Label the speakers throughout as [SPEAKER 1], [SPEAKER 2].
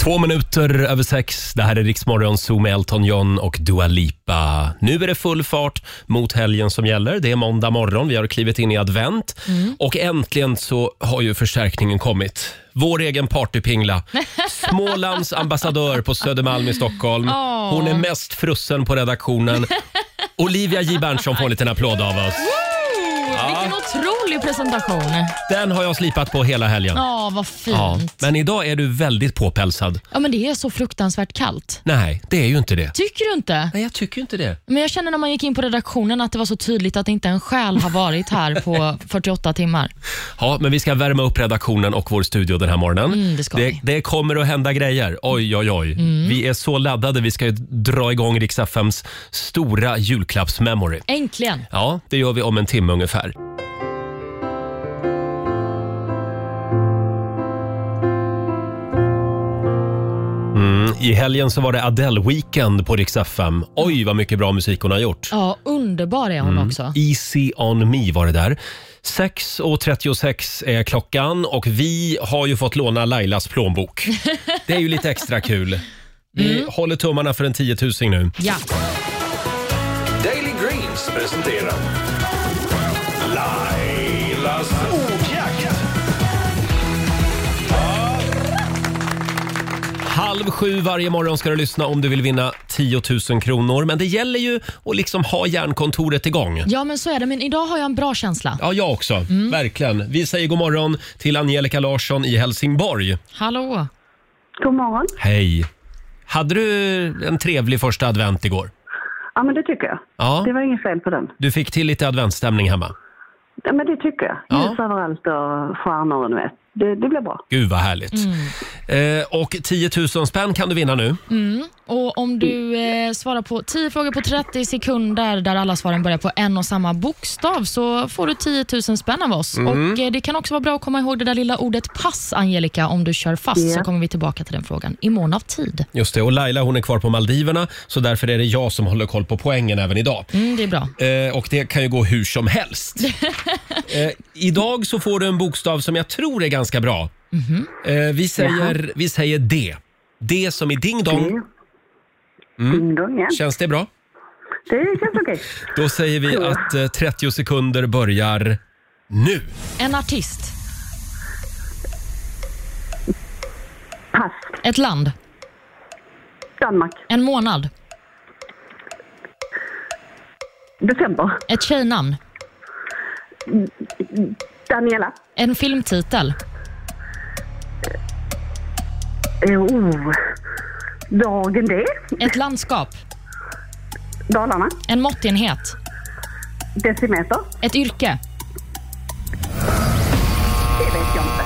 [SPEAKER 1] Två minuter över sex. Det här är Riksmorgon Zoo med Elton John och Dua Lipa. Nu är det full fart mot helgen som gäller. Det är måndag morgon. Vi har klivit in i advent
[SPEAKER 2] Mm.
[SPEAKER 1] och äntligen så har ju förstärkningen kommit. Vår egen partypingla, Smålands ambassadör på Södermalm i Stockholm.
[SPEAKER 2] Åh.
[SPEAKER 1] Hon är mest frusen på redaktionen. Olivia J Berntsson får en liten applåd av oss.
[SPEAKER 2] Vilken otrolig presentation.
[SPEAKER 1] Den har jag slipat på hela helgen.
[SPEAKER 2] Ja, vad fint.
[SPEAKER 1] Ja,
[SPEAKER 2] Ja.
[SPEAKER 1] men idag är du väldigt påpälsad.
[SPEAKER 2] men det är så fruktansvärt kallt.
[SPEAKER 1] Nej, det är ju inte det.
[SPEAKER 2] Tycker du inte?
[SPEAKER 1] Nej, jag tycker inte det.
[SPEAKER 2] Men jag känner när man gick in på redaktionen att det var så tydligt att inte en själ har varit här på 48 timmar.
[SPEAKER 1] Ja, men vi ska värma upp redaktionen och vår studio den här morgonen.
[SPEAKER 2] Mm, det ska
[SPEAKER 1] det,
[SPEAKER 2] vi. Mm.
[SPEAKER 1] det kommer att hända grejer. Oj, oj, oj. Vi är så laddade. Vi ska ju dra igång Rix FMs stora julklappsmemory.
[SPEAKER 2] Äntligen.
[SPEAKER 1] Ja, det gör vi om en timme ungefär. Mm, I helgen så var det Adele-weekend på Rix FM. Oj, vad mycket bra musik hon har gjort.
[SPEAKER 2] Ja, underbar är hon också.
[SPEAKER 1] Easy on me var det där. 6.36 är klockan och vi har ju fått låna Lailas plånbok. Det är ju lite extra kul. Vi
[SPEAKER 3] Mm.
[SPEAKER 1] håller tummarna för en tiotusing nu.
[SPEAKER 2] Ja.
[SPEAKER 4] Daily Greens presenterar Lailas ordjakt.
[SPEAKER 1] Halv sju varje morgon ska du lyssna om du vill vinna 10 000 kronor. Men det gäller ju att liksom ha hjärnkontoret igång.
[SPEAKER 2] ja, men så är det. Men idag har jag en bra känsla.
[SPEAKER 1] Ja, jag också.
[SPEAKER 3] Mm.
[SPEAKER 1] Verkligen. Vi säger god morgon till Angelica Larsson i Helsingborg.
[SPEAKER 2] Hallå.
[SPEAKER 3] God morgon.
[SPEAKER 1] Hej! Hade du en trevlig första advent igår?
[SPEAKER 3] Ja, men det tycker jag.
[SPEAKER 1] Ja,
[SPEAKER 3] Det var inget fel på den.
[SPEAKER 1] du fick till lite adventsstämning hemma.
[SPEAKER 3] Ja, men det tycker jag.
[SPEAKER 1] Ja.
[SPEAKER 3] Ljus överallt och stjärnor och ni vet. Det, det blir bra.
[SPEAKER 1] Gud vad härligt. Eh, och 10 000 spänn kan du vinna nu.
[SPEAKER 2] Och Om du eh, svarar på 10 frågor på 30 sekunder där alla svaren börjar på en och samma bokstav så får du 10 000 spänn av oss.
[SPEAKER 1] Mm.
[SPEAKER 2] Och eh, Det kan också vara bra att komma ihåg det där lilla ordet pass, Angelica, om du kör fast
[SPEAKER 3] Ja.
[SPEAKER 2] så kommer vi tillbaka till den frågan i mån av tid.
[SPEAKER 1] Just det, och Laila hon är kvar på Maldiverna så därför är det jag som håller koll på poängen även idag.
[SPEAKER 2] Mm, det är bra.
[SPEAKER 1] Eh, och det kan ju gå hur som helst. eh, idag så får du en bokstav som jag tror är ganska bra. Eh, vi, säger, vi säger D. D som i ding dong.
[SPEAKER 3] Mm.
[SPEAKER 1] Mm.
[SPEAKER 3] Ding dong, ja.
[SPEAKER 1] Känns det bra?
[SPEAKER 3] Det känns okej.
[SPEAKER 1] Då säger vi att eh, 30 sekunder börjar nu.
[SPEAKER 2] En artist,
[SPEAKER 3] Pass.
[SPEAKER 2] ett land,
[SPEAKER 3] Danmark.
[SPEAKER 2] en månad,
[SPEAKER 3] December.
[SPEAKER 2] ett tjejnamn,
[SPEAKER 3] Daniela.
[SPEAKER 2] en filmtitel,
[SPEAKER 3] Eh, Oh. Dagen D.
[SPEAKER 2] ett landskap,
[SPEAKER 3] Dalarna.
[SPEAKER 2] en måttenhet,
[SPEAKER 3] Decimeter.
[SPEAKER 2] ett yrke.
[SPEAKER 1] Mm.
[SPEAKER 3] Det vet jag inte.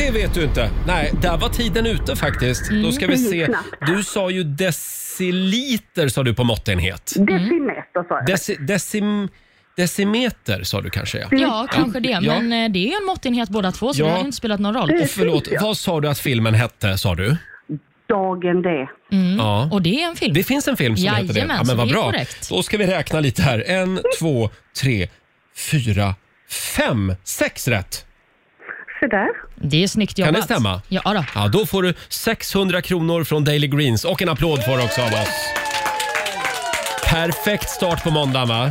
[SPEAKER 1] Det vet du inte. Nej, där var tiden ute faktiskt. Då ska vi se. Du sa ju deciliter sa du på måttenhet.
[SPEAKER 3] Decimeter sa jag.
[SPEAKER 1] Deci, decim, decimeter sa du kanske ja.
[SPEAKER 2] Ja, kanske det.
[SPEAKER 1] Ja.
[SPEAKER 2] Men eh, det är ju en måttenhet båda två, så
[SPEAKER 1] Ja. Mm.
[SPEAKER 2] det har ju inte spelat någon roll.
[SPEAKER 1] Och förlåt, vad sa du att filmen hette sa du?
[SPEAKER 3] Dagen D.
[SPEAKER 1] Ja.
[SPEAKER 2] Mm. Och det är en film.
[SPEAKER 1] Det finns en film som heter det. Ja,
[SPEAKER 2] Jajamän,
[SPEAKER 1] men
[SPEAKER 2] så
[SPEAKER 1] vad
[SPEAKER 2] det är
[SPEAKER 1] bra.
[SPEAKER 2] korrekt.
[SPEAKER 1] Då ska vi räkna lite här. En, två, tre, fyra, fem, sex rätt.
[SPEAKER 3] Så där.
[SPEAKER 2] Det är snyggt jobbat.
[SPEAKER 1] Kan det stämma?
[SPEAKER 2] Ja, då.
[SPEAKER 1] Ja, då får du 600 kronor från Daily Greens och en applåd får du också av oss. Perfekt start på måndagen va?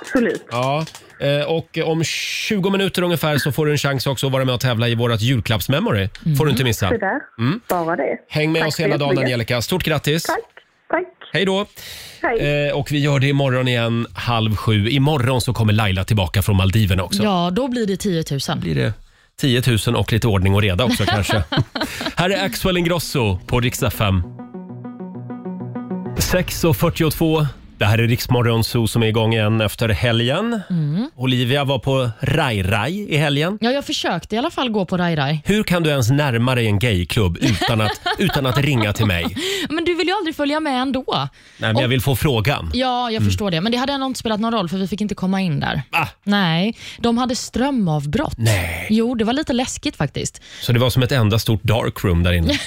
[SPEAKER 3] Absolut.
[SPEAKER 1] Ja, eh, och om 20 minuter ungefär så får du en chans också att vara med och tävla i vårt julklappsmemory. får du inte missa.
[SPEAKER 3] Så där.
[SPEAKER 1] Mm.
[SPEAKER 3] Bara det.
[SPEAKER 1] Häng med
[SPEAKER 3] Mm. Tack
[SPEAKER 1] oss
[SPEAKER 3] så
[SPEAKER 1] hela dagen
[SPEAKER 3] jättemycket.
[SPEAKER 1] Angelica. Stort grattis!
[SPEAKER 3] Tack. Tack.
[SPEAKER 1] Hej då!
[SPEAKER 3] Hej.
[SPEAKER 1] Eh, och vi gör det imorgon igen, halv sju. Imorgon så kommer Laila tillbaka från Maldiverna också.
[SPEAKER 2] Ja, då blir det 10 000.
[SPEAKER 1] Blir det 10 000 och lite ordning och reda också kanske. Här är Axel Ingrosso på riksdag 5. 6.42. Det här är Riksmorgon Zoo som är igång igen efter helgen.
[SPEAKER 3] Mm.
[SPEAKER 1] Olivia var på Rai Rai i helgen.
[SPEAKER 2] Ja, jag försökte i alla fall gå på Rai Rai.
[SPEAKER 1] Hur kan du ens närma dig en gayklubb utan att, utan att ringa till mig?
[SPEAKER 2] Men du vill ju aldrig följa med ändå. Mm.
[SPEAKER 1] Nej, men jag vill få frågan.
[SPEAKER 2] Ja, jag förstår det. Men det hade ändå inte spelat någon roll för vi fick inte komma in där.
[SPEAKER 1] Va?
[SPEAKER 2] Nej, de hade strömavbrott.
[SPEAKER 1] Nej.
[SPEAKER 2] Jo, det var lite läskigt faktiskt.
[SPEAKER 1] Så det var som ett enda stort darkroom där inne.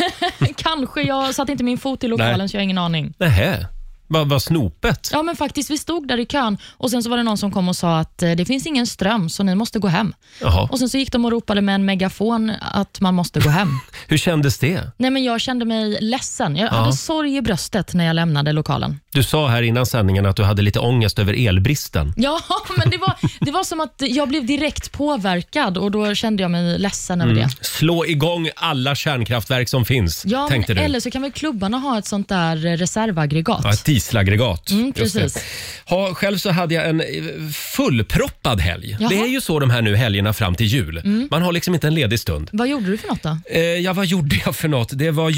[SPEAKER 2] Kanske. Jag satte inte min fot i lokalen,
[SPEAKER 1] Nej.
[SPEAKER 2] så jag har ingen aning.
[SPEAKER 1] Nähä, vad vad snopet.
[SPEAKER 2] Ja, men faktiskt. Vi stod där i kön och sen så var det någon som kom och sa att eh, det finns ingen ström, så ni måste gå hem.
[SPEAKER 1] Jaha.
[SPEAKER 2] Och Sen så gick de och ropade med en megafon att man måste gå hem.
[SPEAKER 1] Hur kändes det?
[SPEAKER 2] Nej, men jag kände mig ledsen. Jag hade sorg i bröstet när jag lämnade lokalen.
[SPEAKER 1] Du sa här innan sändningen att du hade lite ångest över elbristen.
[SPEAKER 2] Ja, men det var, det var som att jag blev direkt påverkad och då kände jag mig ledsen
[SPEAKER 1] Mm.
[SPEAKER 2] över det.
[SPEAKER 1] Slå igång alla kärnkraftverk som finns,
[SPEAKER 2] Ja, men,
[SPEAKER 1] tänkte du.
[SPEAKER 2] eller så kan väl klubbarna ha ett sånt där eh, reservaggregat.
[SPEAKER 1] Ja, ett dieselaggregat.
[SPEAKER 2] Mm,
[SPEAKER 1] Just det.
[SPEAKER 2] precis.
[SPEAKER 1] Ha, själv så hade jag en eh, fullproppad helg.
[SPEAKER 2] Jaha. Mm.
[SPEAKER 1] Det är ju så de här nu helgerna fram till jul. Man har liksom inte en ledig stund.
[SPEAKER 2] Vad gjorde du för något då?
[SPEAKER 1] Eh, ja, vad gjorde jag för något? Det var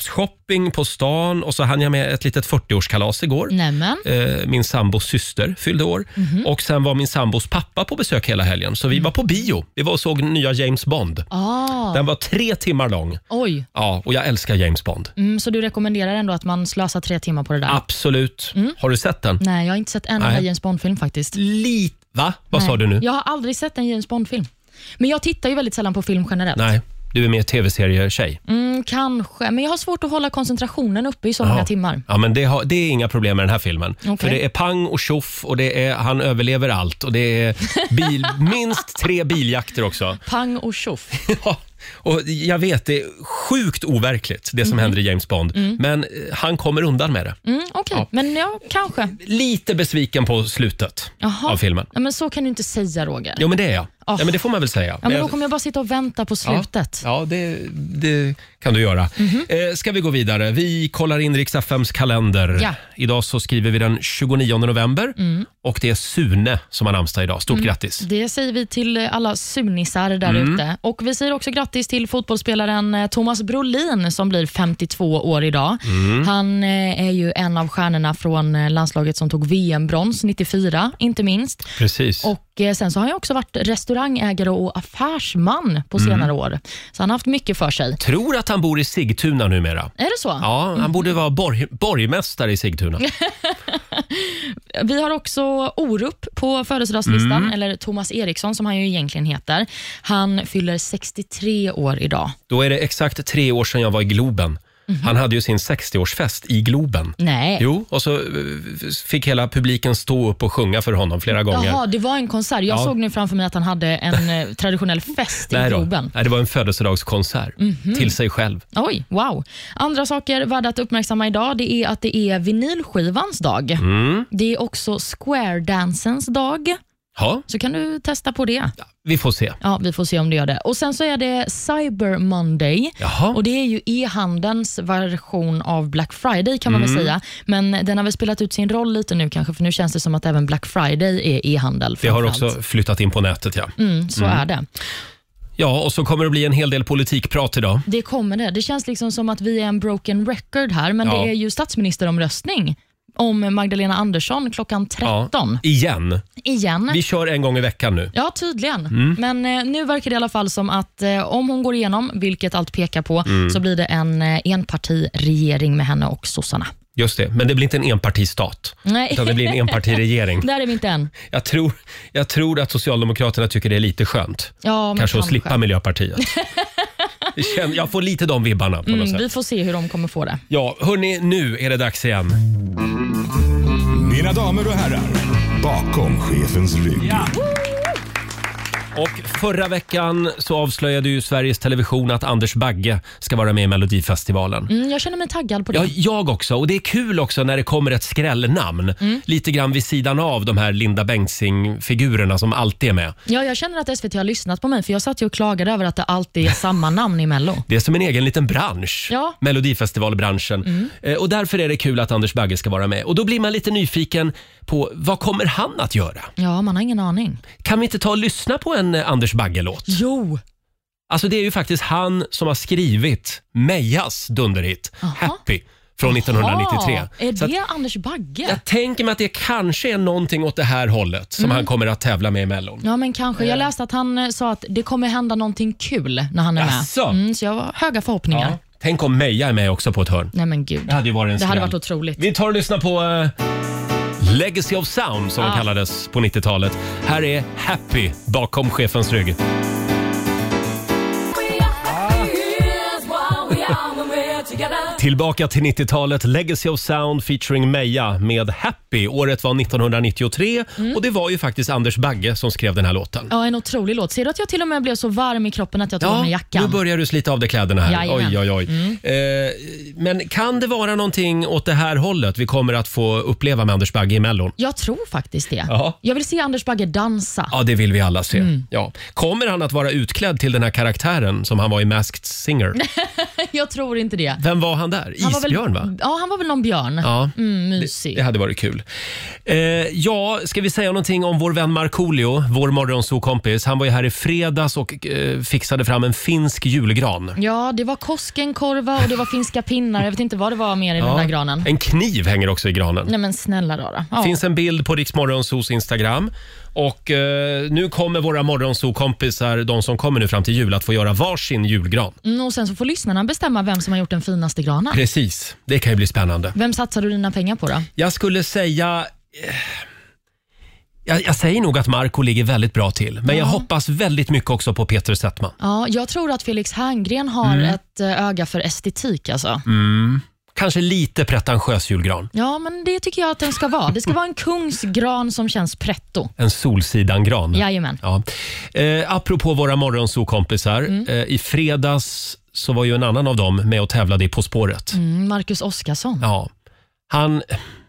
[SPEAKER 1] julklappsshopping på stan och så hann jag med ett litet 40-årskalas igår.
[SPEAKER 2] Nämen.
[SPEAKER 1] Eh, min sambos syster fyllde år
[SPEAKER 2] Mhm.
[SPEAKER 1] och sen var min sambos pappa på besök hela helgen. Så vi var på bio. Vi var och såg nya James Bond.
[SPEAKER 2] Mm. Ah,
[SPEAKER 1] Den var tre timmar lång.
[SPEAKER 2] oj.
[SPEAKER 1] Ja, och jag älskar James Bond.
[SPEAKER 2] Mm, så du rekommenderar ändå att man slösar tre timmar på det där?
[SPEAKER 1] Absolut. Har du sett den?
[SPEAKER 2] Mm. Nej, jag har inte sett en enda
[SPEAKER 1] Nej.
[SPEAKER 2] James Bond-film faktiskt.
[SPEAKER 1] Lite. Va? Vad
[SPEAKER 2] Nej.
[SPEAKER 1] sa du nu?
[SPEAKER 2] Jag har aldrig sett en James Bond-film. Men jag tittar ju väldigt sällan på film generellt.
[SPEAKER 1] Nej, du är mer tv-serietjej.
[SPEAKER 2] Mm, kanske, men jag har svårt att hålla koncentrationen uppe i så många
[SPEAKER 1] Ja.
[SPEAKER 2] timmar.
[SPEAKER 1] Ja, men det, har, det är inga problem med den här filmen.
[SPEAKER 2] Okej.
[SPEAKER 1] För det är pang och tjoff och det är, han överlever allt. Och det är bil, minst tre biljakter också.
[SPEAKER 2] Pang och tjoff.
[SPEAKER 1] Ja, och jag vet, det är sjukt overkligt det som händer i James Bond. Men eh, han kommer undan med det.
[SPEAKER 2] Mm, Okej, men ja, kanske.
[SPEAKER 1] Lite besviken på slutet
[SPEAKER 2] Jaha.
[SPEAKER 1] av filmen.
[SPEAKER 2] Ja, men så kan du inte säga, Roger.
[SPEAKER 1] Jo, men det är jag.
[SPEAKER 2] Ah.
[SPEAKER 1] Ja, men det får man väl säga.
[SPEAKER 2] Ja,
[SPEAKER 1] Men
[SPEAKER 2] men
[SPEAKER 1] jag-
[SPEAKER 2] då kommer jag bara sitta och vänta på slutet.
[SPEAKER 1] Ja, det, det kan du göra.
[SPEAKER 2] Mhm.
[SPEAKER 1] Eh, ska vi gå vidare? Vi kollar in riks FMs kalender.
[SPEAKER 2] Ja. Mm.
[SPEAKER 1] Idag så skriver vi den 29 november och det är Sune som har namnsdag idag. Stort grattis!
[SPEAKER 2] Det säger vi till eh, alla sunisar där
[SPEAKER 1] Mm.
[SPEAKER 2] ute. Och Vi säger också grattis till fotbollsspelaren eh, Thomas Brolin som blir 52 år idag.
[SPEAKER 1] Mm.
[SPEAKER 2] Han eh, är ju en av stjärnorna från eh, landslaget som tog VM-brons 94, inte minst.
[SPEAKER 1] Precis.
[SPEAKER 2] Och eh, Sen så har han ju också varit restaurangägare och affärsman på
[SPEAKER 1] Mm.
[SPEAKER 2] senare år. Så han har haft mycket för sig.
[SPEAKER 1] Tror att han bor i Sigtuna numera.
[SPEAKER 2] Är det så?
[SPEAKER 1] Ja, han
[SPEAKER 2] Mm.
[SPEAKER 1] borde vara borg, borgmästare i Sigtuna.
[SPEAKER 2] Vi har också Orup på födelsedagslistan,
[SPEAKER 1] Mm.
[SPEAKER 2] eller Thomas Eriksson som han ju egentligen heter. Han fyller 63 år idag.
[SPEAKER 1] Då är det exakt tre år sedan jag var i Globen.
[SPEAKER 2] Mhm.
[SPEAKER 1] Han hade ju sin 60-årsfest i Globen.
[SPEAKER 2] Nej.
[SPEAKER 1] Jo, och så eh, fick hela publiken stå upp och sjunga för honom flera gånger.
[SPEAKER 2] Jaha, det var en konsert. Jag
[SPEAKER 1] Ja.
[SPEAKER 2] såg nu framför mig att han hade en eh, traditionell fest i
[SPEAKER 1] Nej, då.
[SPEAKER 2] Globen.
[SPEAKER 1] Nej, det var en födelsedagskonsert
[SPEAKER 2] Mhm.
[SPEAKER 1] till sig själv.
[SPEAKER 2] Oj, wow. Andra saker värda att uppmärksamma idag det är att det är vinylskivans dag.
[SPEAKER 1] Mm.
[SPEAKER 2] Det är också square-dancens dag,
[SPEAKER 1] Ja,
[SPEAKER 2] så kan du testa på det.
[SPEAKER 1] vi får se.
[SPEAKER 2] Ja, Vi får se om du gör det. Och Sen så är det Cyber Monday.
[SPEAKER 1] Jaha.
[SPEAKER 2] Och Det är ju e-handelns version av Black Friday kan man
[SPEAKER 1] Mm.
[SPEAKER 2] väl säga. Men den har väl spelat ut sin roll lite nu kanske, för nu känns det som att även Black Friday är e-handel.
[SPEAKER 1] Det har
[SPEAKER 2] framförallt.
[SPEAKER 1] också flyttat in på nätet. Ja.
[SPEAKER 2] Mm, så är det.
[SPEAKER 1] ja, och så kommer det bli en hel del politikprat idag.
[SPEAKER 2] Det kommer det. Det känns liksom som att vi är en broken record här, men
[SPEAKER 1] Ja.
[SPEAKER 2] det är ju statsministeromröstning om Magdalena Andersson klockan 13
[SPEAKER 1] Igen.
[SPEAKER 2] igen.
[SPEAKER 1] Vi kör en gång i veckan nu.
[SPEAKER 2] Ja, tydligen.
[SPEAKER 1] Mm.
[SPEAKER 2] Men eh, nu verkar det i alla fall som att eh, om hon går igenom, vilket allt pekar på,
[SPEAKER 1] Mm.
[SPEAKER 2] så blir det en eh, enpartiregering med henne och sossarna.
[SPEAKER 1] Just det, men det blir inte en enpartistat.
[SPEAKER 2] Nej.
[SPEAKER 1] Utan det blir en enpartiregering.
[SPEAKER 2] Där är vi inte än.
[SPEAKER 1] Jag tror, jag tror att Socialdemokraterna tycker det är lite skönt.
[SPEAKER 2] Ja, men
[SPEAKER 1] kanske att
[SPEAKER 2] kanske.
[SPEAKER 1] slippa Miljöpartiet. Jag känner- Jag får lite de vibbarna på något
[SPEAKER 2] Mm,
[SPEAKER 1] sätt.
[SPEAKER 2] vi får se hur de kommer få det.
[SPEAKER 1] Ja, hörni, nu är det dags igen.
[SPEAKER 5] Mina damer och herrar, bakom chefens rygg.
[SPEAKER 1] Och förra veckan så avslöjade ju Sveriges Television att Anders Bagge ska vara med i Melodifestivalen.
[SPEAKER 2] Mm, jag känner mig taggad på det.
[SPEAKER 1] Ja, jag också. Och det är kul också när det kommer ett skrällnamn.
[SPEAKER 2] Mm.
[SPEAKER 1] Lite grann vid sidan av de här Linda Bengtzing-figurerna som alltid är med.
[SPEAKER 2] Ja, jag känner att SVT har lyssnat på mig, för jag satt ju och klagade över att det alltid är samma namn i Mello.
[SPEAKER 1] Det är som en egen liten bransch,
[SPEAKER 2] Ja. Mm.
[SPEAKER 1] Melodifestivalbranschen. Eh, Och därför är det kul att Anders Bagge ska vara med. Och då blir man lite nyfiken på vad kommer han att göra?
[SPEAKER 2] Ja, man har ingen aning.
[SPEAKER 1] Kan vi inte ta och lyssna på en eh, Anders Bagge-låt?
[SPEAKER 2] Jo!
[SPEAKER 1] Alltså det är ju faktiskt han som har skrivit Mejas dunderhit
[SPEAKER 2] Aha.
[SPEAKER 1] Happy från 1993.
[SPEAKER 2] Ja, är
[SPEAKER 1] Så att
[SPEAKER 2] det Anders Bagge?
[SPEAKER 1] jag tänker mig att det kanske är någonting åt det här hållet som
[SPEAKER 2] Mm.
[SPEAKER 1] han kommer att tävla med i Mellon.
[SPEAKER 2] Ja, men kanske. Jag läste att han eh, sa att det kommer hända någonting kul när han är
[SPEAKER 1] Jaså?
[SPEAKER 2] med. Mm, så jag har höga förhoppningar.
[SPEAKER 1] Ja. Tänk om Meja är med också på ett hörn.
[SPEAKER 2] Nej men gud.
[SPEAKER 1] Det hade ju varit en
[SPEAKER 2] Det hade
[SPEAKER 1] skräll.
[SPEAKER 2] varit otroligt.
[SPEAKER 1] Vi tar och lyssnar på eh, Legacy of Sound som den
[SPEAKER 2] Ja.
[SPEAKER 1] kallades på 90-talet. Här är Happy bakom chefens rygg.
[SPEAKER 6] We are happy. Here's why we are when we're
[SPEAKER 1] Tillbaka till 90-talet, Legacy of Sound featuring Meja med Happy. Året var 1993 och det var ju faktiskt Anders Bagge som skrev den här låten.
[SPEAKER 2] Mm. Ja, en otrolig låt. Ser du att jag till och med blev så varm i kroppen att jag tog av mig
[SPEAKER 1] nu
[SPEAKER 2] jackan?
[SPEAKER 1] börjar du slita av dig kläderna här.
[SPEAKER 2] Jajamän. Mm.
[SPEAKER 1] Oj, oj, oj. Eh, men kan det vara någonting åt det här hållet vi kommer att få uppleva med Anders Bagge i Mellon?
[SPEAKER 2] Jag tror faktiskt det.
[SPEAKER 1] Ja.
[SPEAKER 2] Jag vill se Anders Bagge dansa.
[SPEAKER 1] Ja, det vill vi alla se.
[SPEAKER 2] Mm.
[SPEAKER 1] Ja. Kommer han att vara utklädd till den här karaktären som han var i Masked Singer?
[SPEAKER 2] Jag tror inte det.
[SPEAKER 1] Vem var han där?
[SPEAKER 2] Han var väl-
[SPEAKER 1] Isbjörn, va?
[SPEAKER 2] Ja, han var väl någon björn.
[SPEAKER 1] Ja.
[SPEAKER 2] Mm, mysig.
[SPEAKER 1] Det hade varit kul. Eh, ja, ska vi säga någonting om vår vän Markoolio, vår morgonsokompis. Han var ju här i fredags och eh, fixade fram en finsk julgran.
[SPEAKER 2] Ja, det var Koskenkorva och det var finska pinnar. Jag vet inte vad det var mer i den där granen.
[SPEAKER 1] En kniv hänger också i granen.
[SPEAKER 2] Nej men snälla rara. Ja.
[SPEAKER 1] finns en bild på Riksmorgonsos Instagram. Och eh, nu kommer våra morgonsokompisar, de som kommer nu fram till jul, att få göra varsin julgran.
[SPEAKER 2] Mm, och sen så får lyssnarna bestämma vem som har gjort den finaste granen.
[SPEAKER 1] Precis, det kan ju bli spännande.
[SPEAKER 2] Vem satsar du dina pengar på då?
[SPEAKER 1] Jag skulle säga... eh, Jag, jag säger nog att Marco ligger väldigt bra till, men jag hoppas väldigt mycket också på Peter Settman.
[SPEAKER 2] Ja, jag tror att Felix Herngren har
[SPEAKER 1] Mm.
[SPEAKER 2] ett eh, öga för estetik alltså.
[SPEAKER 1] Kanske lite pretentiös julgran.
[SPEAKER 2] Ja, men det tycker jag att den ska vara. Det ska vara en kungsgran som känns pretto.
[SPEAKER 1] En solsidangran.
[SPEAKER 2] Jajamän.
[SPEAKER 1] Ja. Eh, apropå våra morgonsokompisar,
[SPEAKER 2] Mm.
[SPEAKER 1] eh, i fredags så var ju en annan av dem med och tävlade i På spåret.
[SPEAKER 2] Mm, Marcus Oskarsson.
[SPEAKER 1] Ja. Han,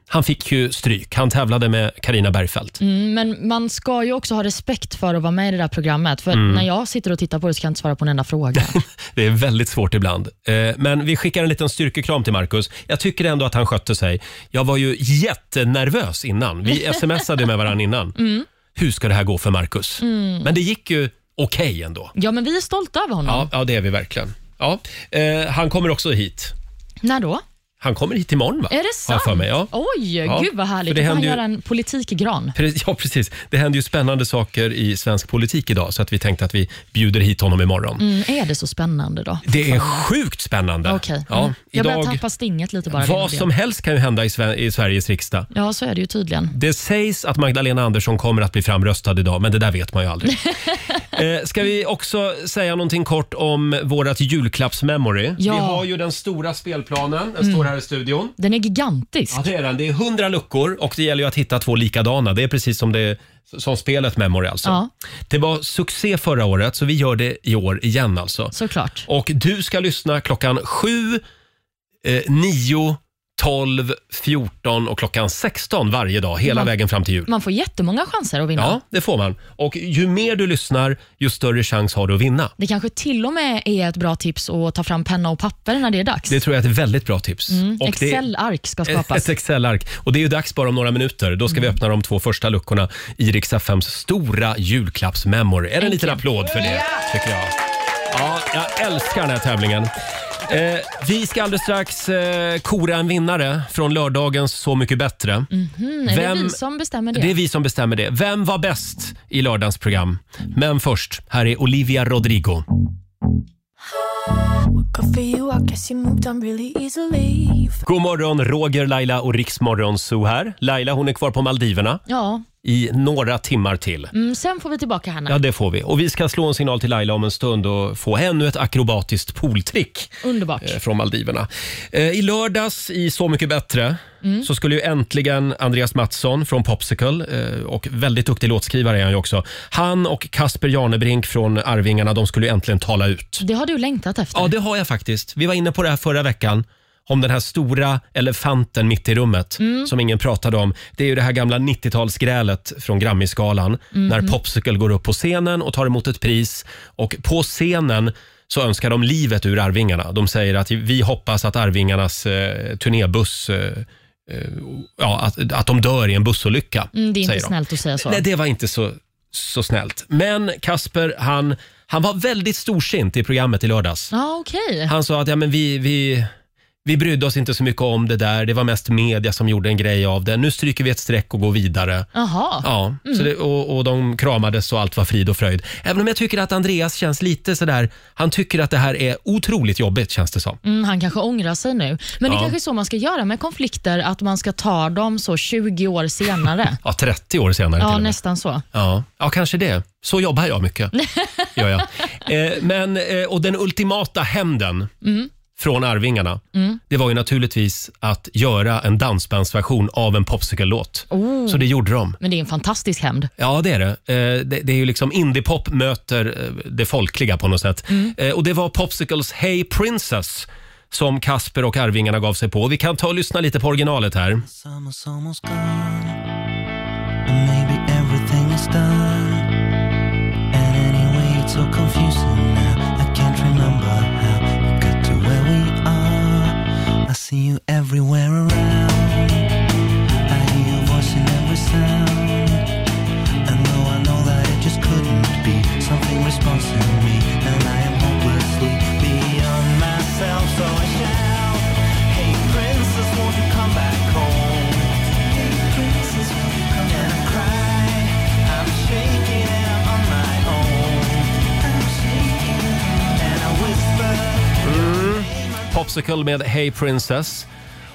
[SPEAKER 1] han fick ju stryk. Han tävlade med Karina Bergfeldt.
[SPEAKER 2] Mm, men man ska ju också ha respekt för att vara med i det där programmet. För
[SPEAKER 1] Mm.
[SPEAKER 2] när jag sitter och tittar på det så kan jag inte svara på en enda fråga.
[SPEAKER 1] Det är väldigt svårt ibland. Eh, Men vi skickar en liten styrkekram till Marcus. Jag tycker ändå att han skötte sig. Jag var ju jättenervös innan. Vi smsade med varandra innan.
[SPEAKER 2] Mm.
[SPEAKER 1] Hur ska det här gå för Marcus? Men det gick ju okej ändå.
[SPEAKER 2] Ja, men vi är stolta över honom.
[SPEAKER 1] Ja, ja, det är vi verkligen. Ja. Eh, Han kommer också hit.
[SPEAKER 2] När då?
[SPEAKER 1] Han kommer hit imorgon va?
[SPEAKER 2] Är det
[SPEAKER 1] Har jag
[SPEAKER 2] sant?
[SPEAKER 1] för mig, ja.
[SPEAKER 2] Oj,
[SPEAKER 1] Ja,
[SPEAKER 2] gud vad
[SPEAKER 1] för
[SPEAKER 2] härligt.
[SPEAKER 1] det
[SPEAKER 2] Då får han
[SPEAKER 1] händer ju-
[SPEAKER 2] göra en politikgran.
[SPEAKER 1] Pre- Ja, precis. Det händer ju spännande saker i svensk politik idag så att vi tänkte att vi bjuder hit honom imorgon.
[SPEAKER 2] Mm, är det så spännande då?
[SPEAKER 1] Det är sjukt spännande.
[SPEAKER 2] Okej.
[SPEAKER 1] Ja,
[SPEAKER 2] Mm. Jag börjar
[SPEAKER 1] idag,
[SPEAKER 2] tappa stinget lite bara.
[SPEAKER 1] vad
[SPEAKER 2] det.
[SPEAKER 1] som helst kan ju hända i, Sve- i Sveriges riksdag.
[SPEAKER 2] Ja, så är det ju tydligen.
[SPEAKER 1] Det sägs att Magdalena Andersson kommer att bli framröstad idag, men det där vet man ju aldrig. eh, ska vi också säga någonting kort om vårt julklappsmemory?
[SPEAKER 2] Ja.
[SPEAKER 1] Vi har ju den stora spelplanen, den står här i studion.
[SPEAKER 2] Den är gigantisk.
[SPEAKER 1] Ja, det är den. Det är 100 luckor och det gäller ju att hitta två likadana. Det är precis som, det, som spelet Memory alltså.
[SPEAKER 2] Ja.
[SPEAKER 1] Det var succé förra året så vi gör det i år igen alltså.
[SPEAKER 2] Såklart.
[SPEAKER 1] Och du ska lyssna klockan 7, eh, 9, 12, 14 och klockan 16 varje dag hela
[SPEAKER 2] Man-
[SPEAKER 1] vägen fram till jul.
[SPEAKER 2] Man får jättemånga chanser att vinna.
[SPEAKER 1] Ja, det får man. Och ju mer du lyssnar, ju större chans har du att vinna.
[SPEAKER 2] Det kanske till och med är ett bra tips att ta fram penna och papper när det är dags.
[SPEAKER 1] Det tror jag är ett väldigt bra tips.
[SPEAKER 2] Mm,
[SPEAKER 1] Och det-
[SPEAKER 2] Excel-ark ska
[SPEAKER 1] Ett
[SPEAKER 2] skapas.
[SPEAKER 1] Excel-ark. Och det är ju dags bara om några minuter. Då ska vi öppna de två första luckorna i Rix FMs stora julklappsmemory. Är det en liten applåd för det, tycker jag. Ja, jag älskar den här tävlingen. Eh, vi ska alldeles strax eh, kora en vinnare från lördagens Så mycket bättre.
[SPEAKER 2] Mm, är det
[SPEAKER 1] Vem-
[SPEAKER 2] vi som bestämmer det?
[SPEAKER 1] Det är vi som bestämmer det. Vem var bäst i lördagens program? Men först, här är Olivia Rodrigo.
[SPEAKER 6] Good for you, I guess you moved on really easily.
[SPEAKER 1] God morgon, Roger, Laila och Riksmorgon Zoo här. Laila hon är kvar på Maldiverna
[SPEAKER 2] Ja,
[SPEAKER 1] i några timmar till.
[SPEAKER 2] mm, sen får vi tillbaka henne.
[SPEAKER 1] Ja, det får vi. Och vi ska slå en signal till Laila om en stund och få ännu ett akrobatiskt pooltrick
[SPEAKER 2] Underbart.
[SPEAKER 1] eh, från Maldiverna. Eh, I lördags i Så mycket bättre så skulle ju äntligen Andreas Mattsson från Popsicle eh, och väldigt duktig låtskrivare är han ju också. Han och Kasper Janebrink från Arvingarna, de skulle ju äntligen tala ut.
[SPEAKER 2] Det har du längtat efter.
[SPEAKER 1] Ja, det har jag faktiskt. Vi var inne på det här förra veckan om den här stora elefanten mitt i rummet
[SPEAKER 2] Mm.
[SPEAKER 1] som ingen pratade om. Det är ju det här gamla 90-talsgrälet från Grammisgalan
[SPEAKER 2] Mm.
[SPEAKER 1] när Popsicle går upp på scenen och tar emot ett pris och på scenen så önskar de livet ur Arvingarna. De säger att vi hoppas att Arvingarnas eh, turnébuss eh, eh, Ja, att, att de dör i en bussolycka.
[SPEAKER 2] Mm, det är inte
[SPEAKER 1] säger de.
[SPEAKER 2] snällt att säga så.
[SPEAKER 1] Nej, det var inte så, så snällt. Men Kasper, han, han var väldigt storsint i programmet i lördags.
[SPEAKER 2] Ja, okej.
[SPEAKER 1] Han sa att ja, men vi, vi, vi brydde oss inte så mycket om det där. Det var mest media som gjorde en grej av det. Nu stryker vi ett streck och går vidare.
[SPEAKER 2] Jaha.
[SPEAKER 1] Ja, så det, och, och de kramades och allt var frid och fröjd. Även om jag tycker att Andreas känns lite sådär, han tycker att det här är otroligt jobbigt känns det som.
[SPEAKER 2] Mm, han kanske ångrar sig nu. Men
[SPEAKER 1] Ja.
[SPEAKER 2] det kanske är så man ska göra med konflikter, att man ska ta dem så 20 år senare.
[SPEAKER 1] Ja, 30 år senare till
[SPEAKER 2] ja,
[SPEAKER 1] och med.
[SPEAKER 2] nästan så.
[SPEAKER 1] Ja, ja, kanske det. Så jobbar jag mycket. Gör jag. Eh, men, eh, och den ultimata hämnden från Arvingarna, det var ju naturligtvis att göra en dansbandsversion av en popsicle-låt. Så det gjorde de.
[SPEAKER 2] Men det är en fantastisk hämnd.
[SPEAKER 1] Ja, det är det. Eh, Det, det är ju liksom indiepop möter eh, det folkliga på något sätt. Eh, Och det var Popsicles Hey Princess som Kasper och Arvingarna gav sig på. Vi kan ta och lyssna lite på originalet här.
[SPEAKER 7] Summer's almost gone, and maybe everything is done. And anyway, it's so confusing now. I can't remember how we got to where we are. I see you everywhere around. I hear your voice in every sound. And though I know that it just couldn't be, something responds in me, and I am hopelessly beyond myself. So I shout, Hey princess, won't you come back home? Hey princess, won't you come and I cry. I'm shaking and I'm on my own. I'm shaking and I whisper.
[SPEAKER 1] Popsicle med Hey Princess.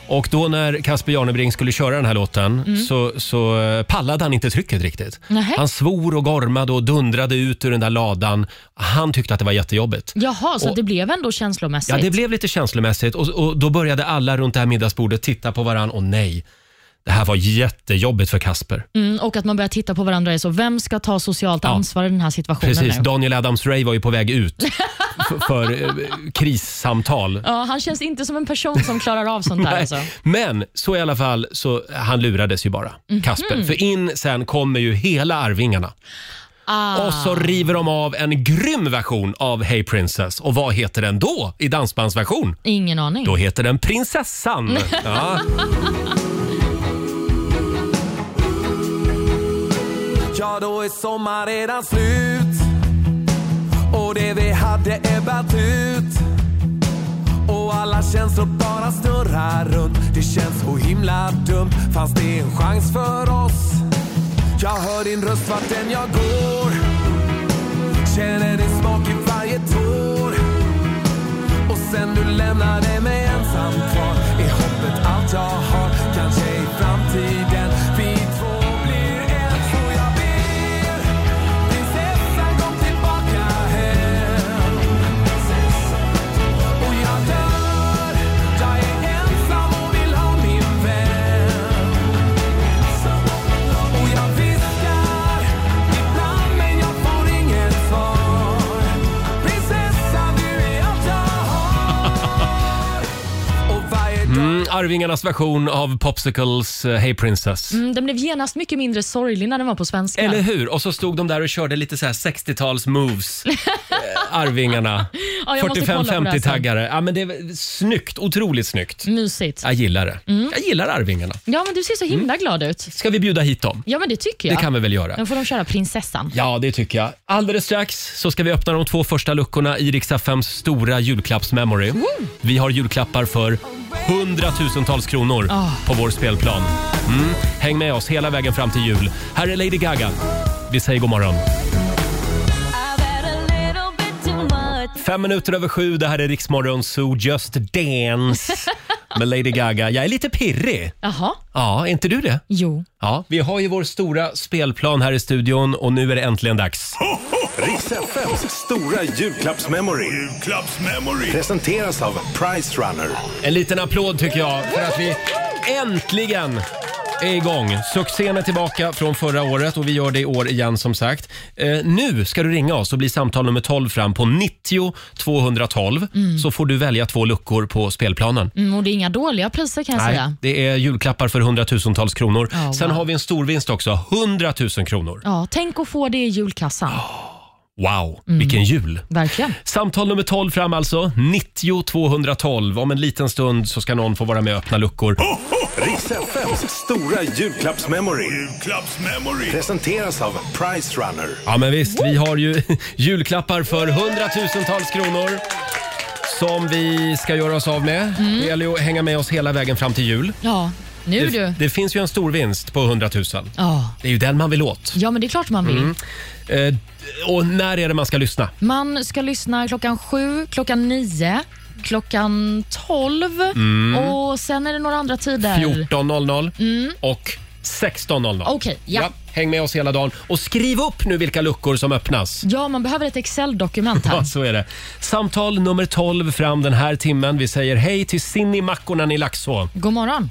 [SPEAKER 1] Och då när Kasper Jarnebring skulle köra den här låten så, så eh, pallade han inte trycket riktigt.
[SPEAKER 2] Mm. Nähä.
[SPEAKER 1] Han svor och gormade och dundrade ut ur den där ladan. Han tyckte att det var jättejobbigt.
[SPEAKER 2] Jaha, så
[SPEAKER 1] Och-
[SPEAKER 2] att det blev ändå känslomässigt?
[SPEAKER 1] Ja, det blev lite känslomässigt och, och då började alla runt det här middagsbordet titta på varandra. Och nej, det här var jättejobbigt för Kasper.
[SPEAKER 2] mm, och att man börjar titta på varandra är så, vem ska ta socialt ansvar i den här situationen
[SPEAKER 1] Precis,
[SPEAKER 2] nu?
[SPEAKER 1] Daniel Adams-Ray var ju på väg ut f- för eh, krissamtal.
[SPEAKER 2] Ja, han känns inte som en person som klarar av sånt där.
[SPEAKER 1] Nej.
[SPEAKER 2] Alltså.
[SPEAKER 1] Men så i alla fall, så, han lurades ju bara,
[SPEAKER 2] Mhm.
[SPEAKER 1] Kasper. För in sen kommer ju hela Arvingarna.
[SPEAKER 2] Ah,
[SPEAKER 1] Och så river de av en grym version av Hey Princess. Och vad heter den då i dansbandsversion?
[SPEAKER 2] ingen aning.
[SPEAKER 1] Då heter den Prinsessan. Ja.
[SPEAKER 7] Ja, då är sommar redan slut och det vi hade ebbat ut och alla känslor bara snurrar runt Det känns så himla dumt Fanns det en chans för oss? Jag hör din röst vart än jag går Känner din smak i varje tår Och sen du lämnade mig ensam kvar Är hoppet allt jag har? Kanske i framtiden Vi två blir ett Så jag ber Prinsessan kom tillbaka hem Och jag dör Jag är ensam och vill ha min vän Och jag viskar ibland men jag får inget svar Prinsessan du är allt jag har Och varje dag
[SPEAKER 1] Mm, Arvingarnas version av Popsicles eh, Hey Princess.
[SPEAKER 2] Mm, den blev genast mycket mindre sorglig när den var på svenska.
[SPEAKER 1] Eller hur? Och så stod de där och körde lite så här 60-tals moves. eh, Arvingarna.
[SPEAKER 2] Ja, jag måste kolla på det här sen.
[SPEAKER 1] 45-50-taggare. Ja, men det är snyggt. Otroligt
[SPEAKER 2] Mm.
[SPEAKER 1] snyggt.
[SPEAKER 2] Mysigt.
[SPEAKER 1] Jag gillar det.
[SPEAKER 2] Mm.
[SPEAKER 1] Jag gillar Arvingarna.
[SPEAKER 2] Ja, men du ser så himla glad ut.
[SPEAKER 1] Ska vi bjuda hit dem?
[SPEAKER 2] Ja, men det tycker
[SPEAKER 1] Mm. Det
[SPEAKER 2] jag.
[SPEAKER 1] kan vi väl göra?
[SPEAKER 2] Då får de köra prinsessan.
[SPEAKER 1] Ja, det tycker jag. Alldeles strax så ska vi öppna de två första luckorna i Rix FMs stora julklappsmemory. Vi har julklappar för hundratusentals kronor på vår spelplan. Mm. Häng med oss hela vägen fram till jul. Här är Lady Gaga. Vi säger god morgon. Fem minuter över sju, det här är Riksmorgon Zoo Just Dance med Lady Gaga. Jag är lite pirrig.
[SPEAKER 2] Jaha,
[SPEAKER 1] Ja, är inte du det?
[SPEAKER 2] jo.
[SPEAKER 1] Ja, vi har ju vår stora spelplan här i studion och nu är det äntligen dags.
[SPEAKER 5] Riks FMs stora julklappsmemory. Julklappsmemory. Presenteras av Price Runner.
[SPEAKER 1] En liten applåd tycker jag för att vi äntligen är igång. Succén är tillbaka från förra året och vi gör det i år igen som sagt. Eh, nu ska du ringa oss och bli samtal nummer 12 fram på 90 212 så får du välja två luckor på spelplanen.
[SPEAKER 2] Mm, och det är inga dåliga priser kan jag säga.
[SPEAKER 1] det är julklappar för hundratusentals kronor.
[SPEAKER 2] Ja,
[SPEAKER 1] Sen
[SPEAKER 2] wow.
[SPEAKER 1] har vi en storvinst också, 100 000 kronor.
[SPEAKER 2] Ja, tänk att få det i julkassan.
[SPEAKER 1] Wow,
[SPEAKER 2] Mm.
[SPEAKER 1] vilken jul!
[SPEAKER 2] Verkligen.
[SPEAKER 1] Samtal nummer 12 fram alltså, 90 212. Om en liten stund så ska någon få vara med och öppna luckor.
[SPEAKER 5] Riks FMs stora julklappsmemory. Julklappsmemory. Presenteras av Price Runner.
[SPEAKER 1] Ja men visst, vi har ju julklappar för hundratusentals kronor som vi ska göra oss av med.
[SPEAKER 2] Mm.
[SPEAKER 1] Det gäller ju att hänga med oss hela vägen fram till jul.
[SPEAKER 2] Ja, nu
[SPEAKER 1] Det,
[SPEAKER 2] du.
[SPEAKER 1] det finns ju en stor vinst på 100 000.
[SPEAKER 2] Ja.
[SPEAKER 1] Det är ju den man vill åt.
[SPEAKER 2] ja, men det är klart man vill.
[SPEAKER 1] Eh, och när är det man ska lyssna?
[SPEAKER 2] Man ska lyssna klockan sju, klockan nio, klockan tolv
[SPEAKER 1] Mm.
[SPEAKER 2] och sen är det några andra tider.
[SPEAKER 1] 14.00 och 16.00.
[SPEAKER 2] Mm. Okej, ja.
[SPEAKER 1] Häng med oss hela dagen. Och skriv upp nu vilka luckor som öppnas.
[SPEAKER 2] Ja, man behöver ett Excel-dokument här.
[SPEAKER 1] Ja, så är det. Samtal nummer 12 fram den här timmen. Vi säger hej till Cinni Makkonen i Laxå.
[SPEAKER 2] God morgon.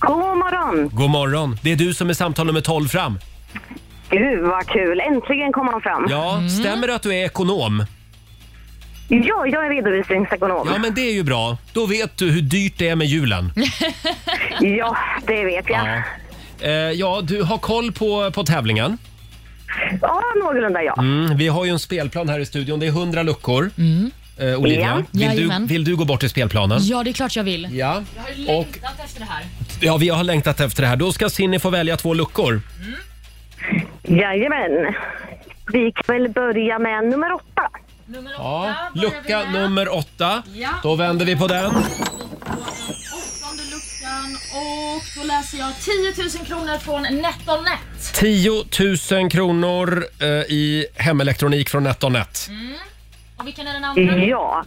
[SPEAKER 3] God morgon!
[SPEAKER 1] God morgon. Det är du som är samtal nummer 12 fram.
[SPEAKER 3] Gud vad kul, äntligen kom han fram. Ja,
[SPEAKER 2] Mm.
[SPEAKER 1] Ja, stämmer det att du är ekonom?
[SPEAKER 3] jag är redovisningsekonom.
[SPEAKER 1] Ja, men det är ju bra. Då vet du hur dyrt det är med julen.
[SPEAKER 3] Ja, det vet jag.
[SPEAKER 1] Ja.
[SPEAKER 3] Ja,
[SPEAKER 1] Eh, ja, du har koll på, på tävlingen.
[SPEAKER 3] någorlunda ja.
[SPEAKER 1] Mm, vi har ju en spelplan här i studion. Det är 100 luckor. Eh,
[SPEAKER 3] Ja.
[SPEAKER 1] Olivia, vill du,
[SPEAKER 2] Mm. Jajamän.
[SPEAKER 1] vill du gå bort till spelplanen?
[SPEAKER 2] Ja, det är klart jag vill.
[SPEAKER 1] Ja. Och,
[SPEAKER 2] efter det här.
[SPEAKER 1] ja, vi har längtat efter det här. Då ska Cindy få välja två luckor.
[SPEAKER 3] Jajamän. Vi kan väl börja med nummer åtta.
[SPEAKER 1] Ja, lucka nummer åtta. Då vänder vi på den.
[SPEAKER 2] Åttonde luckan och då läser jag 10 000 kronor från NetOnNet.
[SPEAKER 1] 10 000 kronor eh, i hemelektronik från NetOnNet.
[SPEAKER 2] Och vilken är den andra?
[SPEAKER 1] Mm.
[SPEAKER 3] Ja.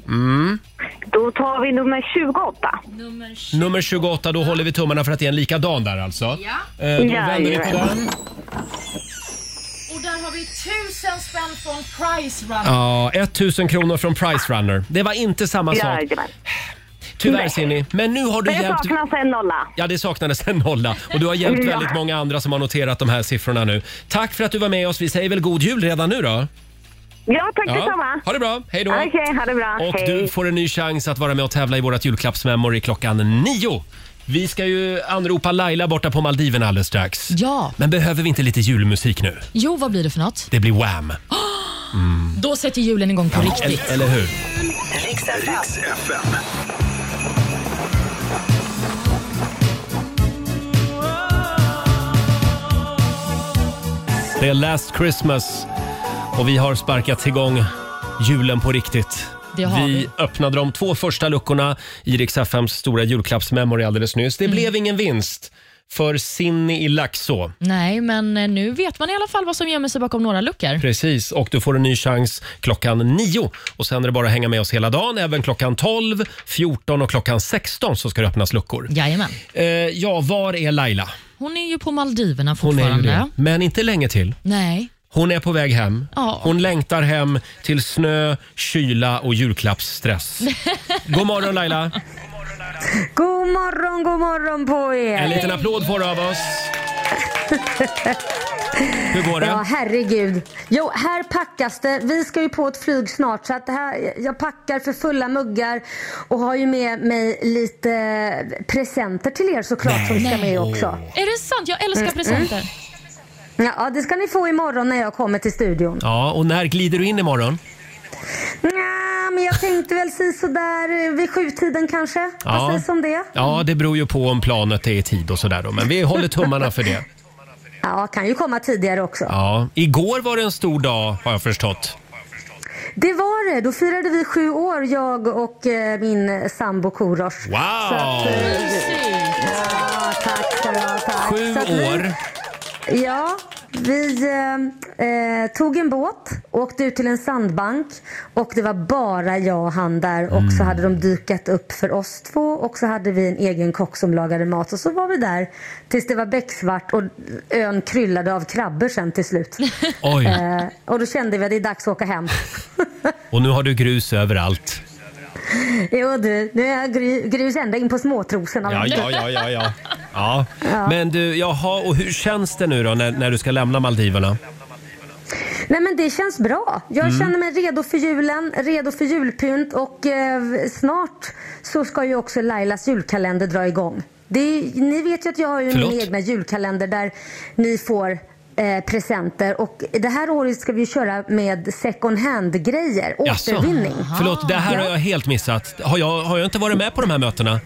[SPEAKER 3] Då tar vi nummer 28.
[SPEAKER 2] Nummer 20.
[SPEAKER 1] Nummer 28, då håller vi tummarna för att det är en likadan där alltså.
[SPEAKER 2] Ja.
[SPEAKER 1] Eh, då vänder vi på
[SPEAKER 3] Jajamän.
[SPEAKER 1] den.
[SPEAKER 2] Och där har vi 1000 spänn från Price Run.
[SPEAKER 1] Ja, 1 000 kronor från Price Runner. Det var inte samma sak.
[SPEAKER 3] Jajamän.
[SPEAKER 1] Tyvärr Cindy. Men nu har du
[SPEAKER 3] Det
[SPEAKER 1] hjälpt...
[SPEAKER 3] saknas en nolla.
[SPEAKER 1] Ja, det saknades en nolla. Och du har hjälpt
[SPEAKER 3] Ja.
[SPEAKER 1] väldigt många andra som har noterat de här siffrorna nu. Tack för att du var med oss. Vi säger väl god jul redan nu då?
[SPEAKER 3] Ja, tack detsamma.
[SPEAKER 1] Ha det bra. Hej då.
[SPEAKER 3] Okej, ha det bra.
[SPEAKER 1] Och
[SPEAKER 3] Hej.
[SPEAKER 1] du får en ny chans att vara med och tävla i vårt julklappsmemory klockan nio. Vi ska ju anropa Laila borta på Maldiverna alldeles strax.
[SPEAKER 2] Ja,
[SPEAKER 1] Men behöver vi inte lite julmusik nu?
[SPEAKER 2] jo vad blir det för något?
[SPEAKER 1] Det blir Wham!
[SPEAKER 2] Då sätter julen igång på riktigt.
[SPEAKER 1] Eller, eller hur?
[SPEAKER 5] Riks FM.
[SPEAKER 1] Det är Last Christmas och vi har sparkat igång julen på riktigt.
[SPEAKER 2] Det har vi.
[SPEAKER 1] öppnade de två första luckorna i Rix FMs stora julklappsmemory alldeles nyss.
[SPEAKER 2] Mm.
[SPEAKER 1] Det blev ingen vinst för Sinni i Laxå.
[SPEAKER 2] Nej, men eh, nu vet man i alla fall vad som gömmer sig bakom några luckor.
[SPEAKER 1] Precis, och du får en ny chans klockan nio. Och sen är det bara att hänga med oss hela dagen. Även klockan 12, 14 och klockan 16 så ska det öppnas luckor.
[SPEAKER 2] Jajamän.
[SPEAKER 1] Eh, ja, var är Laila?
[SPEAKER 2] Hon är ju på Maldiverna
[SPEAKER 1] Hon
[SPEAKER 2] fortfarande.
[SPEAKER 1] är ju det. Men inte länge till.
[SPEAKER 2] Nej.
[SPEAKER 1] Hon är på väg hem.
[SPEAKER 2] Ja.
[SPEAKER 1] Hon längtar hem till snö, kyla och julklappsstress. God morgon Laila!
[SPEAKER 8] God morgon, god morgon på
[SPEAKER 1] En
[SPEAKER 8] er!
[SPEAKER 1] liten applåd får du av oss. Hur går
[SPEAKER 8] Ja,
[SPEAKER 1] det?
[SPEAKER 8] herregud. Jo, här packas det. Vi ska ju på ett flyg snart så att det här, jag packar för fulla muggar och har ju med mig lite presenter till er såklart som ska med också.
[SPEAKER 2] Är det sant? Jag älskar presenter.
[SPEAKER 8] Ja, det ska ni få imorgon när jag kommer till studion.
[SPEAKER 1] Ja, och när glider du in imorgon?
[SPEAKER 8] Nja, men jag tänkte väl si sådär eh, vid sjutiden kanske. Vad sägs om det?
[SPEAKER 1] Ja, det beror ju på om planet är i tid och sådär då. Men vi håller tummarna för det.
[SPEAKER 8] Ja, kan ju komma tidigare också.
[SPEAKER 1] Ja, igår var det en stor dag har jag förstått.
[SPEAKER 8] Det var det. Då firade vi sju år, jag och eh, min sambo Korosh.
[SPEAKER 1] Wow!
[SPEAKER 8] Så att, eh, ja, tack ska du ha. Tack.
[SPEAKER 1] Sju
[SPEAKER 8] Så att vi-
[SPEAKER 1] år.
[SPEAKER 8] Ja, vi eh, eh, tog en båt, åkte ut till en sandbank och det var bara jag och han där. Och
[SPEAKER 1] Mm.
[SPEAKER 8] så hade de dykat upp för oss två och så hade vi en egen kock som lagade mat. Och så var vi där tills det var becksvart och ön kryllade av krabbor sen till slut.
[SPEAKER 1] Oj,
[SPEAKER 8] Eh, och då kände vi att det är dags att åka hem.
[SPEAKER 1] och nu har du grus överallt.
[SPEAKER 8] Jo du, nu är jag gry- grus ända in på småtrosorna.
[SPEAKER 1] Ja, ja, ja, ja, ja. ja. Men du, jaha, och hur känns det nu då när, när du ska lämna Maldiverna?
[SPEAKER 8] Nej men det känns bra. Jag
[SPEAKER 1] Mm.
[SPEAKER 8] känner mig redo för julen, redo för julpynt och eh, snart så ska ju också Lailas julkalender dra igång. Det är, ni vet ju att jag har ju
[SPEAKER 1] Förlåt?
[SPEAKER 8] min egna julkalender där ni får eh, presenter och det här året ska vi ju köra med second hand-grejer,
[SPEAKER 1] Jaså?
[SPEAKER 8] återvinning.
[SPEAKER 1] Förlåt, det här har
[SPEAKER 8] Ja.
[SPEAKER 1] jag helt missat. Har jag, har jag inte varit med på de här mötena?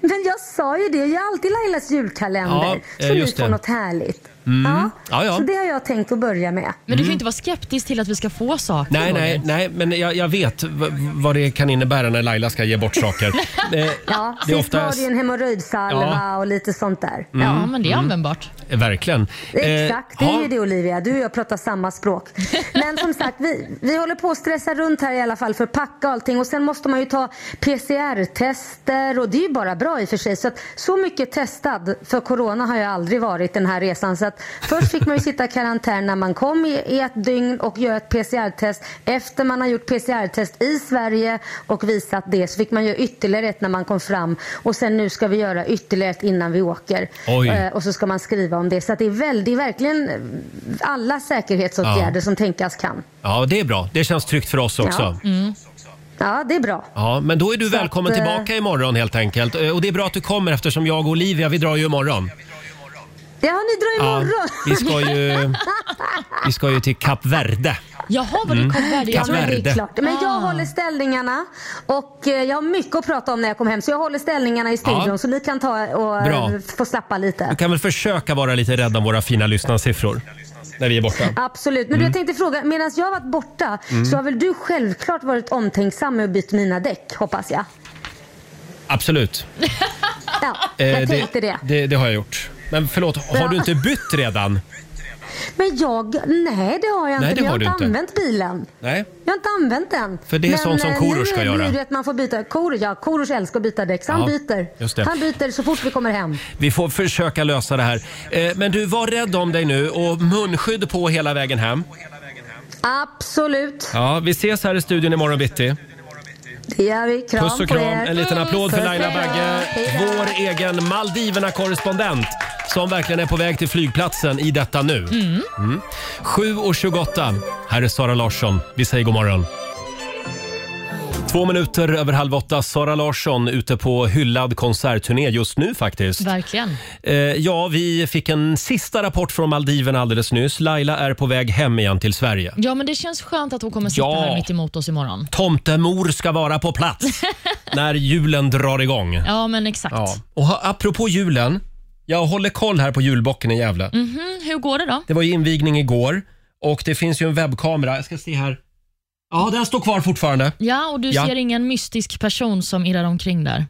[SPEAKER 8] Men jag sa ju det, jag har alltid Lailas julkalender.
[SPEAKER 1] Ja, eh,
[SPEAKER 8] så ni
[SPEAKER 1] just
[SPEAKER 8] får
[SPEAKER 1] det. Mm.
[SPEAKER 8] något härligt. Ja.
[SPEAKER 1] Ja, ja.
[SPEAKER 8] Så det har jag tänkt att börja med.
[SPEAKER 2] Men du kan ju inte vara skeptisk till att vi ska få saker.
[SPEAKER 1] Nej,
[SPEAKER 2] Roger.
[SPEAKER 1] nej, nej, men jag, jag vet v- vad det kan innebära när Laila ska ge bort saker. Eh,
[SPEAKER 8] Ja,
[SPEAKER 1] det är
[SPEAKER 8] sist var
[SPEAKER 1] oftast...
[SPEAKER 8] det ju en hemorrojdsalva
[SPEAKER 1] Ja.
[SPEAKER 8] och lite sånt där.
[SPEAKER 1] Mm.
[SPEAKER 2] Ja, men det är användbart.
[SPEAKER 1] Verkligen. Eh,
[SPEAKER 8] Exakt, det är
[SPEAKER 1] ja.
[SPEAKER 8] ju det Olivia. Du och jag pratar samma språk. Men som sagt, vi, vi håller på att stressa runt här i alla fall för att packa och allting. Och sen måste man ju ta PCR-tester och det är ju bara bra i och för sig. Så, att, så mycket testad för corona har jag aldrig varit den här resan. Så att att först fick man ju sitta i karantän när man kom i, i ett dygn och göra ett PCR-test. Efter man har gjort PCR-test i Sverige och visat det så fick man göra ytterligare ett när man kom fram. Och sen nu ska vi göra ytterligare ett innan vi åker.
[SPEAKER 1] Oj.
[SPEAKER 8] Eh, och så ska man skriva om det. Så att det, är väl, det är verkligen eh, alla säkerhetsåtgärder
[SPEAKER 1] Ja.
[SPEAKER 8] som tänkas kan.
[SPEAKER 1] Ja, det är bra. Det känns tryggt för oss också. Ja,
[SPEAKER 8] Ja. Ja, det är bra.
[SPEAKER 1] men då är du
[SPEAKER 8] Så
[SPEAKER 1] välkommen
[SPEAKER 8] att, eh,
[SPEAKER 1] tillbaka imorgon helt enkelt. Eh, Och det är bra att du kommer eftersom jag och Olivia, vi drar ju imorgon.
[SPEAKER 8] Ja, ni drar imorgon.
[SPEAKER 1] vi ska ju... Vi ska ju till Kap Verde.
[SPEAKER 2] Jaha, vad det kom där.
[SPEAKER 1] Mm. Kan
[SPEAKER 2] Jag tror
[SPEAKER 1] vara.
[SPEAKER 2] att-
[SPEAKER 8] Men det
[SPEAKER 1] Värde.
[SPEAKER 8] är klart. Men jag
[SPEAKER 2] Ah.
[SPEAKER 8] håller ställningarna och eh, jag har mycket att prata om när jag kommer hem. Så jag håller ställningarna i studion
[SPEAKER 1] Ja.
[SPEAKER 8] så ni kan ta och eh,
[SPEAKER 1] Bra.
[SPEAKER 8] få slappa lite.
[SPEAKER 1] Du kan väl försöka vara lite rädd om våra fina lyssnarsiffror när vi är borta.
[SPEAKER 8] Absolut.
[SPEAKER 1] Mm.
[SPEAKER 8] Men du, jag tänkte fråga, medan jag har varit borta så har väl du självklart varit omtänksam med att byta mina däck, hoppas jag?
[SPEAKER 1] Absolut.
[SPEAKER 8] Ja,
[SPEAKER 1] Eh,
[SPEAKER 8] jag tänkte det.
[SPEAKER 1] det. Det har jag gjort. Men förlåt, har
[SPEAKER 8] Ja.
[SPEAKER 1] du inte bytt redan?
[SPEAKER 8] Men jag, nej det har jag
[SPEAKER 1] Nej,
[SPEAKER 8] inte.
[SPEAKER 1] det
[SPEAKER 8] men jag
[SPEAKER 1] har
[SPEAKER 8] har
[SPEAKER 1] du
[SPEAKER 8] inte
[SPEAKER 1] inte.
[SPEAKER 8] använt bilen.
[SPEAKER 1] Nej.
[SPEAKER 8] Jag har inte använt den.
[SPEAKER 1] För det är
[SPEAKER 8] Men,
[SPEAKER 1] sånt som
[SPEAKER 8] eh,
[SPEAKER 1] Korosh
[SPEAKER 8] nu
[SPEAKER 1] ska
[SPEAKER 8] är det
[SPEAKER 1] göra.
[SPEAKER 8] ju att man får byta. Korosh, ja, Korosh älskar att byta däck så han
[SPEAKER 1] Ja,
[SPEAKER 8] byter.
[SPEAKER 1] just det.
[SPEAKER 8] Han byter så fort vi kommer hem.
[SPEAKER 1] Vi får försöka lösa det här. Eh, Men du, var rädd om dig nu och munskydd på hela vägen hem.
[SPEAKER 8] Absolut.
[SPEAKER 1] Ja, vi ses här i studion imorgon bitti.
[SPEAKER 8] Det gör vi. Kram
[SPEAKER 1] Puss och
[SPEAKER 8] på
[SPEAKER 1] kram.
[SPEAKER 8] er.
[SPEAKER 1] En liten applåd för
[SPEAKER 8] Puss.
[SPEAKER 1] Laila Bagge,
[SPEAKER 8] Hej då.
[SPEAKER 1] vår egen Maldiverna-korrespondent som verkligen är på väg till flygplatsen i detta nu. Mm. 7.28. Här är Sara Larsson. Vi säger god morgon. Två minuter över halv åtta. Sara Larsson ute på hyllad konsertturné just nu faktiskt.
[SPEAKER 2] Verkligen.
[SPEAKER 1] Eh, ja, vi fick en sista rapport från Maldiverna alldeles nyss. Laila är på väg hem igen till Sverige.
[SPEAKER 2] Ja, men det känns skönt att hon kommer sitta
[SPEAKER 1] Ja.
[SPEAKER 2] här mitt emot oss imorgon.
[SPEAKER 1] Tomtemor ska vara på plats när julen drar igång.
[SPEAKER 2] Ja, men exakt.
[SPEAKER 1] Ja. Och ha- apropå julen, jag håller koll här på julbocken i Gävle.
[SPEAKER 2] Mm, hur går det då?
[SPEAKER 1] Det var ju invigning igår och det finns ju en webbkamera. Jag ska se här. Ja, den står kvar fortfarande.
[SPEAKER 2] Ja, och du
[SPEAKER 1] Ja.
[SPEAKER 2] ser ingen mystisk person som irrar omkring där?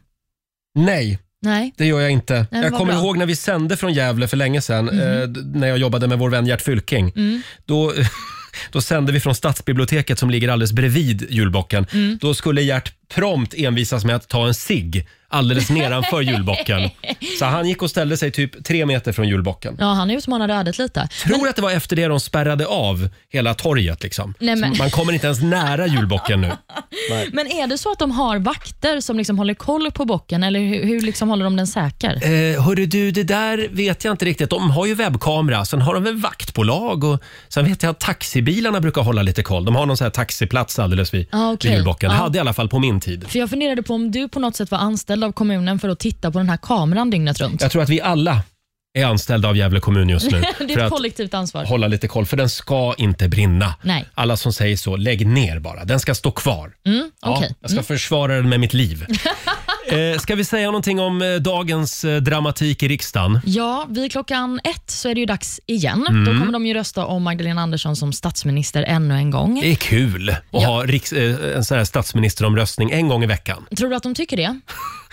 [SPEAKER 1] Nej,
[SPEAKER 2] Nej.
[SPEAKER 1] det gör jag inte.
[SPEAKER 2] men
[SPEAKER 1] jag
[SPEAKER 2] vad
[SPEAKER 1] kommer
[SPEAKER 2] bra. Mhm.
[SPEAKER 1] ihåg när vi sände från Gävle för länge sedan eh, d- när jag jobbade med vår vän Gert Fylking.
[SPEAKER 2] Mm.
[SPEAKER 1] Då, då sände vi från Stadsbiblioteket som ligger alldeles bredvid julbocken.
[SPEAKER 2] Mm.
[SPEAKER 1] Då skulle Gert prompt envisas med att ta en cigg alldeles nedanför julbocken. Så han gick och ställde sig typ tre meter från julbocken.
[SPEAKER 2] Ja, han utmanade ödet lite.
[SPEAKER 1] tror att det var efter det de spärrade av hela torget. Liksom.
[SPEAKER 2] Nej, men-
[SPEAKER 1] Så Man kommer inte ens nära julbocken nu.
[SPEAKER 2] Men är det så att de har vakter som liksom håller koll på bocken eller hur, hur liksom håller de den säker?
[SPEAKER 1] Eh, hörru du, det där vet jag inte riktigt. De har ju webbkamera, sen har de väl vaktbolag och sen vet jag att taxibilarna brukar hålla lite koll. De har någon sån här taxiplats alldeles vid,
[SPEAKER 2] Ah, okej.
[SPEAKER 1] vid julbocken.
[SPEAKER 2] Ja.
[SPEAKER 1] Hade i alla fall på min tid.
[SPEAKER 2] För Jag funderade på om du på något sätt var anställd av kommunen för att titta på den här kameran dygnet runt.
[SPEAKER 1] Jag tror att vi alla är anställda av Gävle kommun just nu för
[SPEAKER 2] Det är ett
[SPEAKER 1] att
[SPEAKER 2] kollektivt ansvar.
[SPEAKER 1] hålla lite koll, för den ska inte brinna.
[SPEAKER 2] Nej.
[SPEAKER 1] Alla som säger så, lägg ner bara. Den ska stå kvar.
[SPEAKER 2] okej. Mm.
[SPEAKER 1] jag ska försvara den med mitt liv. eh, ska vi säga någonting om eh, dagens eh, dramatik i riksdagen?
[SPEAKER 2] Ja, vid klockan ett så är det ju dags igen. Då
[SPEAKER 1] Mm.
[SPEAKER 2] kommer de ju rösta om Magdalena Andersson som statsminister ännu en gång.
[SPEAKER 1] Det är kul att ha riks, eh, en sån här statsministeromröstning en gång i veckan.
[SPEAKER 2] Tror du att de tycker det?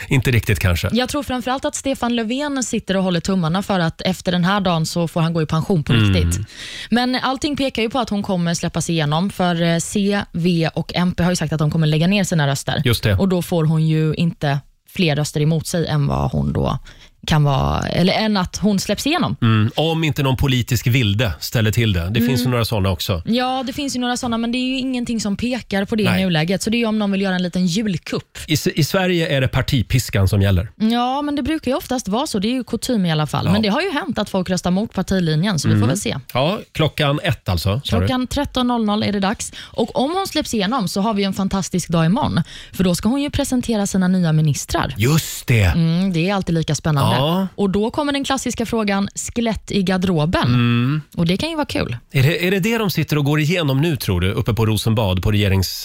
[SPEAKER 1] Inte riktigt kanske.
[SPEAKER 2] Jag tror framförallt att Stefan Löfven sitter och håller tummarna för att efter den här dagen så får han gå i pension på
[SPEAKER 1] Mm.
[SPEAKER 2] riktigt. Men allting pekar ju på att hon kommer släppas igenom för eh, C, V och MP har ju sagt att de kommer lägga ner sina röster.
[SPEAKER 1] Just det.
[SPEAKER 2] Och då får hon ju inte fler röster emot sig än vad hon då kan vara, eller än att hon släpps igenom.
[SPEAKER 1] Mm, om inte någon politisk vilde ställer till det. Det finns
[SPEAKER 2] Mm.
[SPEAKER 1] ju några sådana också.
[SPEAKER 2] Ja, det finns ju några sådana, men det är ju ingenting som pekar på det
[SPEAKER 1] Nej.
[SPEAKER 2] i nuläget. Så det är ju om någon vill göra en liten julkupp.
[SPEAKER 1] I, S- I Sverige är det partipiskan som
[SPEAKER 2] Mm.
[SPEAKER 1] gäller.
[SPEAKER 2] Ja, men det brukar ju oftast vara så. Det är ju kutym i alla fall.
[SPEAKER 1] Ja.
[SPEAKER 2] Men det har ju hänt att folk röstar mot partilinjen, så vi får väl se.
[SPEAKER 1] Ja, klockan ett alltså. sa du?
[SPEAKER 2] Klockan 13.00 är det dags. Och Om hon släpps igenom så har vi en fantastisk dag imorgon. För då ska hon ju presentera sina nya ministrar.
[SPEAKER 1] Just det.
[SPEAKER 2] Mm, det är alltid lika spännande.
[SPEAKER 1] Ja.
[SPEAKER 2] Och Då kommer den klassiska frågan skelett i garderoben.
[SPEAKER 1] Mm.
[SPEAKER 2] Och Det kan ju vara kul.
[SPEAKER 1] Är, det. är det det de sitter och går igenom nu tror du? Uppe på Rosenbad på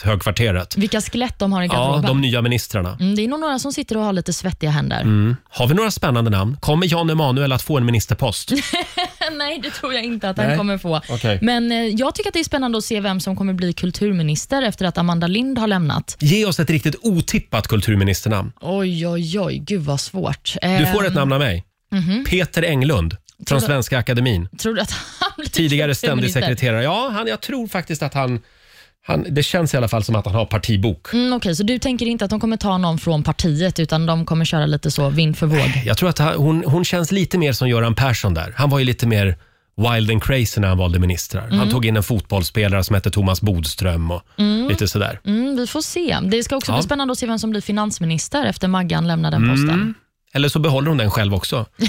[SPEAKER 1] regeringshögkvarteret?
[SPEAKER 2] Vilka skelett de har i
[SPEAKER 1] Ja,
[SPEAKER 2] Mm. garderoben.
[SPEAKER 1] de nya ministrarna.
[SPEAKER 2] mm, det är nog några som sitter och har lite svettiga händer.
[SPEAKER 1] Har vi några spännande namn? Kommer Jan Emanuel att få en ministerpost?
[SPEAKER 2] Nej, det tror jag inte att
[SPEAKER 1] Nej.
[SPEAKER 2] han kommer få.
[SPEAKER 1] Okej.
[SPEAKER 2] Men eh, jag tycker att det är spännande att se vem som kommer bli kulturminister efter att Amanda Lind har lämnat.
[SPEAKER 1] Ge oss ett riktigt otippat kulturministernamn.
[SPEAKER 2] Oj, oj, oj. Gud vad svårt.
[SPEAKER 1] Du
[SPEAKER 2] Eh,
[SPEAKER 1] får ett namn av mig. Peter Englund från
[SPEAKER 2] Mhm. Tror Typ du-
[SPEAKER 1] Svenska Akademin.
[SPEAKER 2] Tror du att han blir
[SPEAKER 1] Tidigare ständig
[SPEAKER 2] kulturminister?
[SPEAKER 1] sekreterare. Ja, han, jag tror faktiskt att han, han... Det känns i alla fall som att han har partibok.
[SPEAKER 2] Mm, Okej, så du tänker inte att de kommer ta någon från partiet utan de kommer köra lite så vind för våg?
[SPEAKER 1] Jag tror att han, hon, hon känns lite mer som Göran Persson där. Han var ju lite mer wild and crazy när han valde ministrar. Han tog in en fotbollsspelare som hette Thomas Bodström och lite sådär.
[SPEAKER 2] Mm. Mm, vi får se. Det ska också
[SPEAKER 1] Ja.
[SPEAKER 2] bli spännande att se vem som blir finansminister efter Maggan lämnar den posten.
[SPEAKER 1] Mm. Eller så behåller hon den själv också.
[SPEAKER 2] ska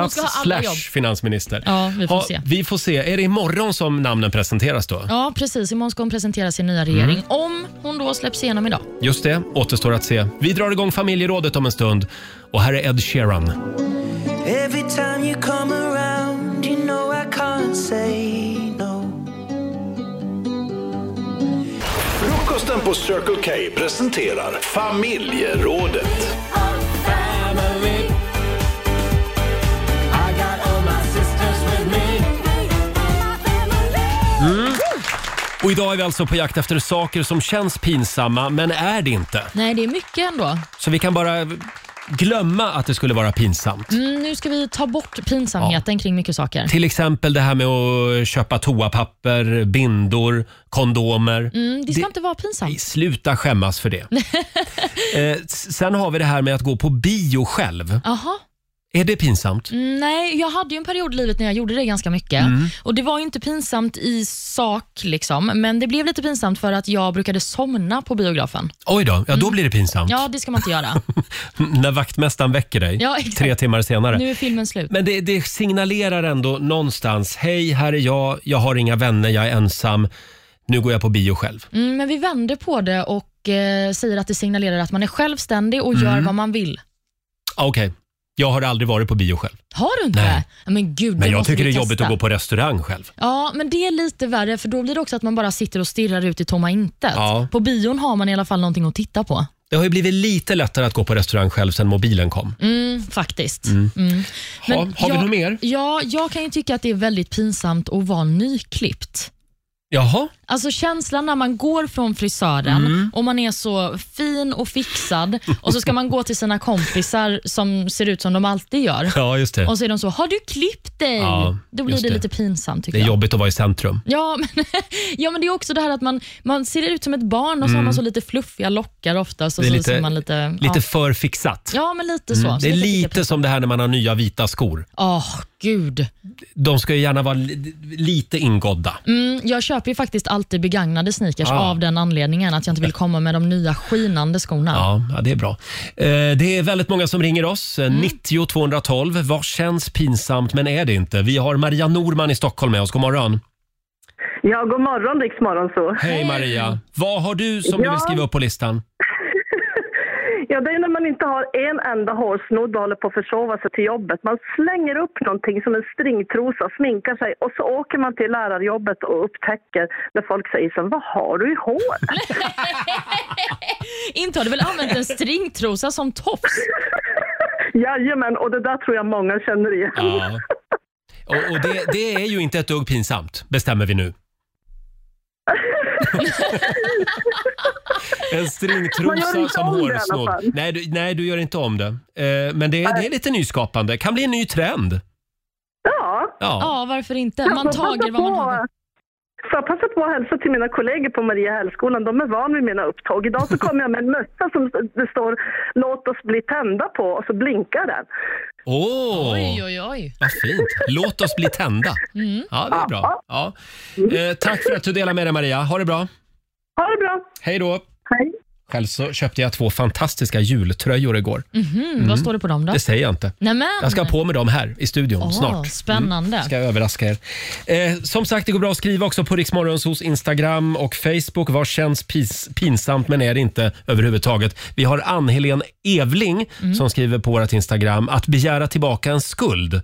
[SPEAKER 2] ha
[SPEAKER 1] Stats
[SPEAKER 2] alla
[SPEAKER 1] slash
[SPEAKER 2] jobb.
[SPEAKER 1] finansminister.
[SPEAKER 2] Ja, vi får se.
[SPEAKER 1] Vi får se. Är det imorgon som namnen presenteras då?
[SPEAKER 2] Ja, precis. Imorgon ska hon presentera sin nya
[SPEAKER 1] Mm.
[SPEAKER 2] regering. Om hon då släpps igenom idag.
[SPEAKER 1] Just det, återstår att se. Vi drar igång familjerådet om en stund. Och här är Ed Sheeran.
[SPEAKER 7] Every time you come around, you know I can't say no.
[SPEAKER 4] Frukosten på Circle K presenterar Familjerådet.
[SPEAKER 1] Och idag är vi alltså på jakt efter saker som känns pinsamma, men är det inte.
[SPEAKER 2] Nej, det är mycket ändå.
[SPEAKER 1] Så vi kan bara glömma att det skulle vara pinsamt.
[SPEAKER 2] Mm, nu ska vi ta bort pinsamheten kring mycket saker.
[SPEAKER 1] Till exempel det här med att köpa toapapper, bindor, kondomer.
[SPEAKER 2] Mm, det ska inte vara pinsamt.
[SPEAKER 1] Sluta skämmas för det. eh, s- sen har vi det här med att gå på bio själv.
[SPEAKER 2] Jaha.
[SPEAKER 1] Är det pinsamt?
[SPEAKER 2] Mm. Nej, jag hade ju en period i livet när jag gjorde det ganska mycket.
[SPEAKER 1] Mm.
[SPEAKER 2] Och Det var ju inte pinsamt i sak, liksom, men det blev lite pinsamt för att jag brukade somna på biografen.
[SPEAKER 1] Oj då, ja, då blir det pinsamt.
[SPEAKER 2] Mm. Ja, det ska man inte göra.
[SPEAKER 1] När vaktmästaren väcker dig
[SPEAKER 2] Ja, exakt.
[SPEAKER 1] tre timmar senare.
[SPEAKER 2] Nu är filmen slut.
[SPEAKER 1] Men det, det signalerar ändå någonstans. Hej, här är jag. Jag har inga vänner. Jag är ensam. Nu går jag på bio själv.
[SPEAKER 2] Mm, men vi vänder på det och eh, säger att det signalerar att man är självständig och
[SPEAKER 1] Mm.
[SPEAKER 2] gör vad man vill.
[SPEAKER 1] Ah, Okej, jag har aldrig varit på bio själv.
[SPEAKER 2] Har du inte
[SPEAKER 1] Nej.
[SPEAKER 2] det? Men gud,
[SPEAKER 1] Men jag
[SPEAKER 2] måste
[SPEAKER 1] tycker det
[SPEAKER 2] vi
[SPEAKER 1] är
[SPEAKER 2] testa.
[SPEAKER 1] jobbigt att gå på restaurang själv.
[SPEAKER 2] Ja, men det är lite värre för då blir det också att man bara sitter och stirrar ut i tomma intet.
[SPEAKER 1] Ja.
[SPEAKER 2] På bion har man i alla fall någonting att titta på.
[SPEAKER 1] Det har ju blivit lite lättare att gå på restaurang själv sen mobilen kom.
[SPEAKER 2] Mm, faktiskt. Mm.
[SPEAKER 1] Ha, har vi
[SPEAKER 2] jag,
[SPEAKER 1] något mer?
[SPEAKER 2] Ja, jag kan ju tycka att det är väldigt pinsamt att vara nyklippt.
[SPEAKER 1] Jaha,
[SPEAKER 2] Alltså känslan när man går från frisören
[SPEAKER 1] Mm.
[SPEAKER 2] och man är så fin och fixad och så ska man gå till sina kompisar som ser ut som de alltid gör.
[SPEAKER 1] ja just det.
[SPEAKER 2] Och så är de så, har du klippt dig?
[SPEAKER 1] Ja,
[SPEAKER 2] Då blir
[SPEAKER 1] just
[SPEAKER 2] det
[SPEAKER 1] det.
[SPEAKER 2] lite pinsamt tycker
[SPEAKER 1] Det är
[SPEAKER 2] jag.
[SPEAKER 1] jobbigt att vara i centrum.
[SPEAKER 2] Ja men, ja, men det är också det här att man, man ser ut som ett barn och så har man så lite fluffiga lockar oftast. Och
[SPEAKER 1] Mm. Det är
[SPEAKER 2] så
[SPEAKER 1] lite-
[SPEAKER 2] ser man lite,
[SPEAKER 1] Lite
[SPEAKER 2] ja.
[SPEAKER 1] för fixat. Mm.
[SPEAKER 2] ja, men lite så. så
[SPEAKER 1] Det är
[SPEAKER 2] jag kan tycka
[SPEAKER 1] lite
[SPEAKER 2] pinsamt.
[SPEAKER 1] som det här när man har nya vita skor.
[SPEAKER 2] Åh, gud.
[SPEAKER 1] De ska ju gärna vara li- lite ingådda.
[SPEAKER 2] Mm, jag köper ju faktiskt alltid begagnade sneakers
[SPEAKER 1] Ah.
[SPEAKER 2] av den anledningen att jag inte vill komma med de nya skinande skorna.
[SPEAKER 1] Ja, ja, det är bra. Eh, Det är väldigt många som ringer oss.
[SPEAKER 2] Mm.
[SPEAKER 1] Eh, 90 212. Vad känns pinsamt men är det inte? Vi har Maria Norman i Stockholm med oss. God morgon.
[SPEAKER 3] Ja, god morgon Rix morgon så.
[SPEAKER 1] Hej Maria. Vad har du som du
[SPEAKER 3] Ja.
[SPEAKER 1] vill skriva upp på listan?
[SPEAKER 3] Ja, det är när man inte har en enda hårsnodd och håller på att försova sig till jobbet. Man slänger upp någonting som en stringtrosa, sminkar sig och så åker man till lärarjobbet och upptäcker när folk säger så vad har du i hår?
[SPEAKER 2] Inte har du väl använt en stringtrosa som tofs?
[SPEAKER 3] Jajamän, och det där tror jag många känner igen.
[SPEAKER 1] Ja. Och, och det, det är ju inte ett dugg pinsamt, bestämmer vi nu. en
[SPEAKER 3] Man gör
[SPEAKER 1] stringtrosa
[SPEAKER 3] inte
[SPEAKER 1] som
[SPEAKER 3] om det i alla
[SPEAKER 1] hårsnodd.
[SPEAKER 3] fall.
[SPEAKER 1] Nej du, nej, du gör inte om det. Eh, Men det, är- det är lite nyskapande. Kan bli en ny trend.
[SPEAKER 3] Ja.
[SPEAKER 1] Ja.
[SPEAKER 2] Ja, varför inte? Man tager vad man har.
[SPEAKER 3] Så jag passar på att hälsa till mina kollegor på Mariehällsskolan. De är van vid mina upptåg. Idag så kommer jag med en mössa som det står “Låt oss bli tända på” och så blinkar den.
[SPEAKER 1] Åh!
[SPEAKER 2] Oj, Mm. oj, oj.
[SPEAKER 1] Vad fint. Låt oss bli tända. Ja, det är bra. Ja. Eh, tack för att du delade med dig Maria. Ha det bra.
[SPEAKER 3] Ha det bra!
[SPEAKER 1] Hej då.
[SPEAKER 3] Hej!
[SPEAKER 1] Själv så köpte jag två fantastiska jultröjor igår.
[SPEAKER 2] Mm, Vad står det på dem då?
[SPEAKER 1] Det säger jag inte.
[SPEAKER 2] Nämen!
[SPEAKER 1] Jag ska ha på mig dem här i studion
[SPEAKER 2] Åh,
[SPEAKER 1] snart. Mm.
[SPEAKER 2] Spännande.
[SPEAKER 1] Ska jag överraska er. Eh, som sagt, det går bra att skriva också på Riksmorgons hos Instagram och Facebook. Vad känns pis, pinsamt men är det inte överhuvudtaget? Vi har Ann-Helén Evling som skriver på vårt Instagram att begära tillbaka en skuld.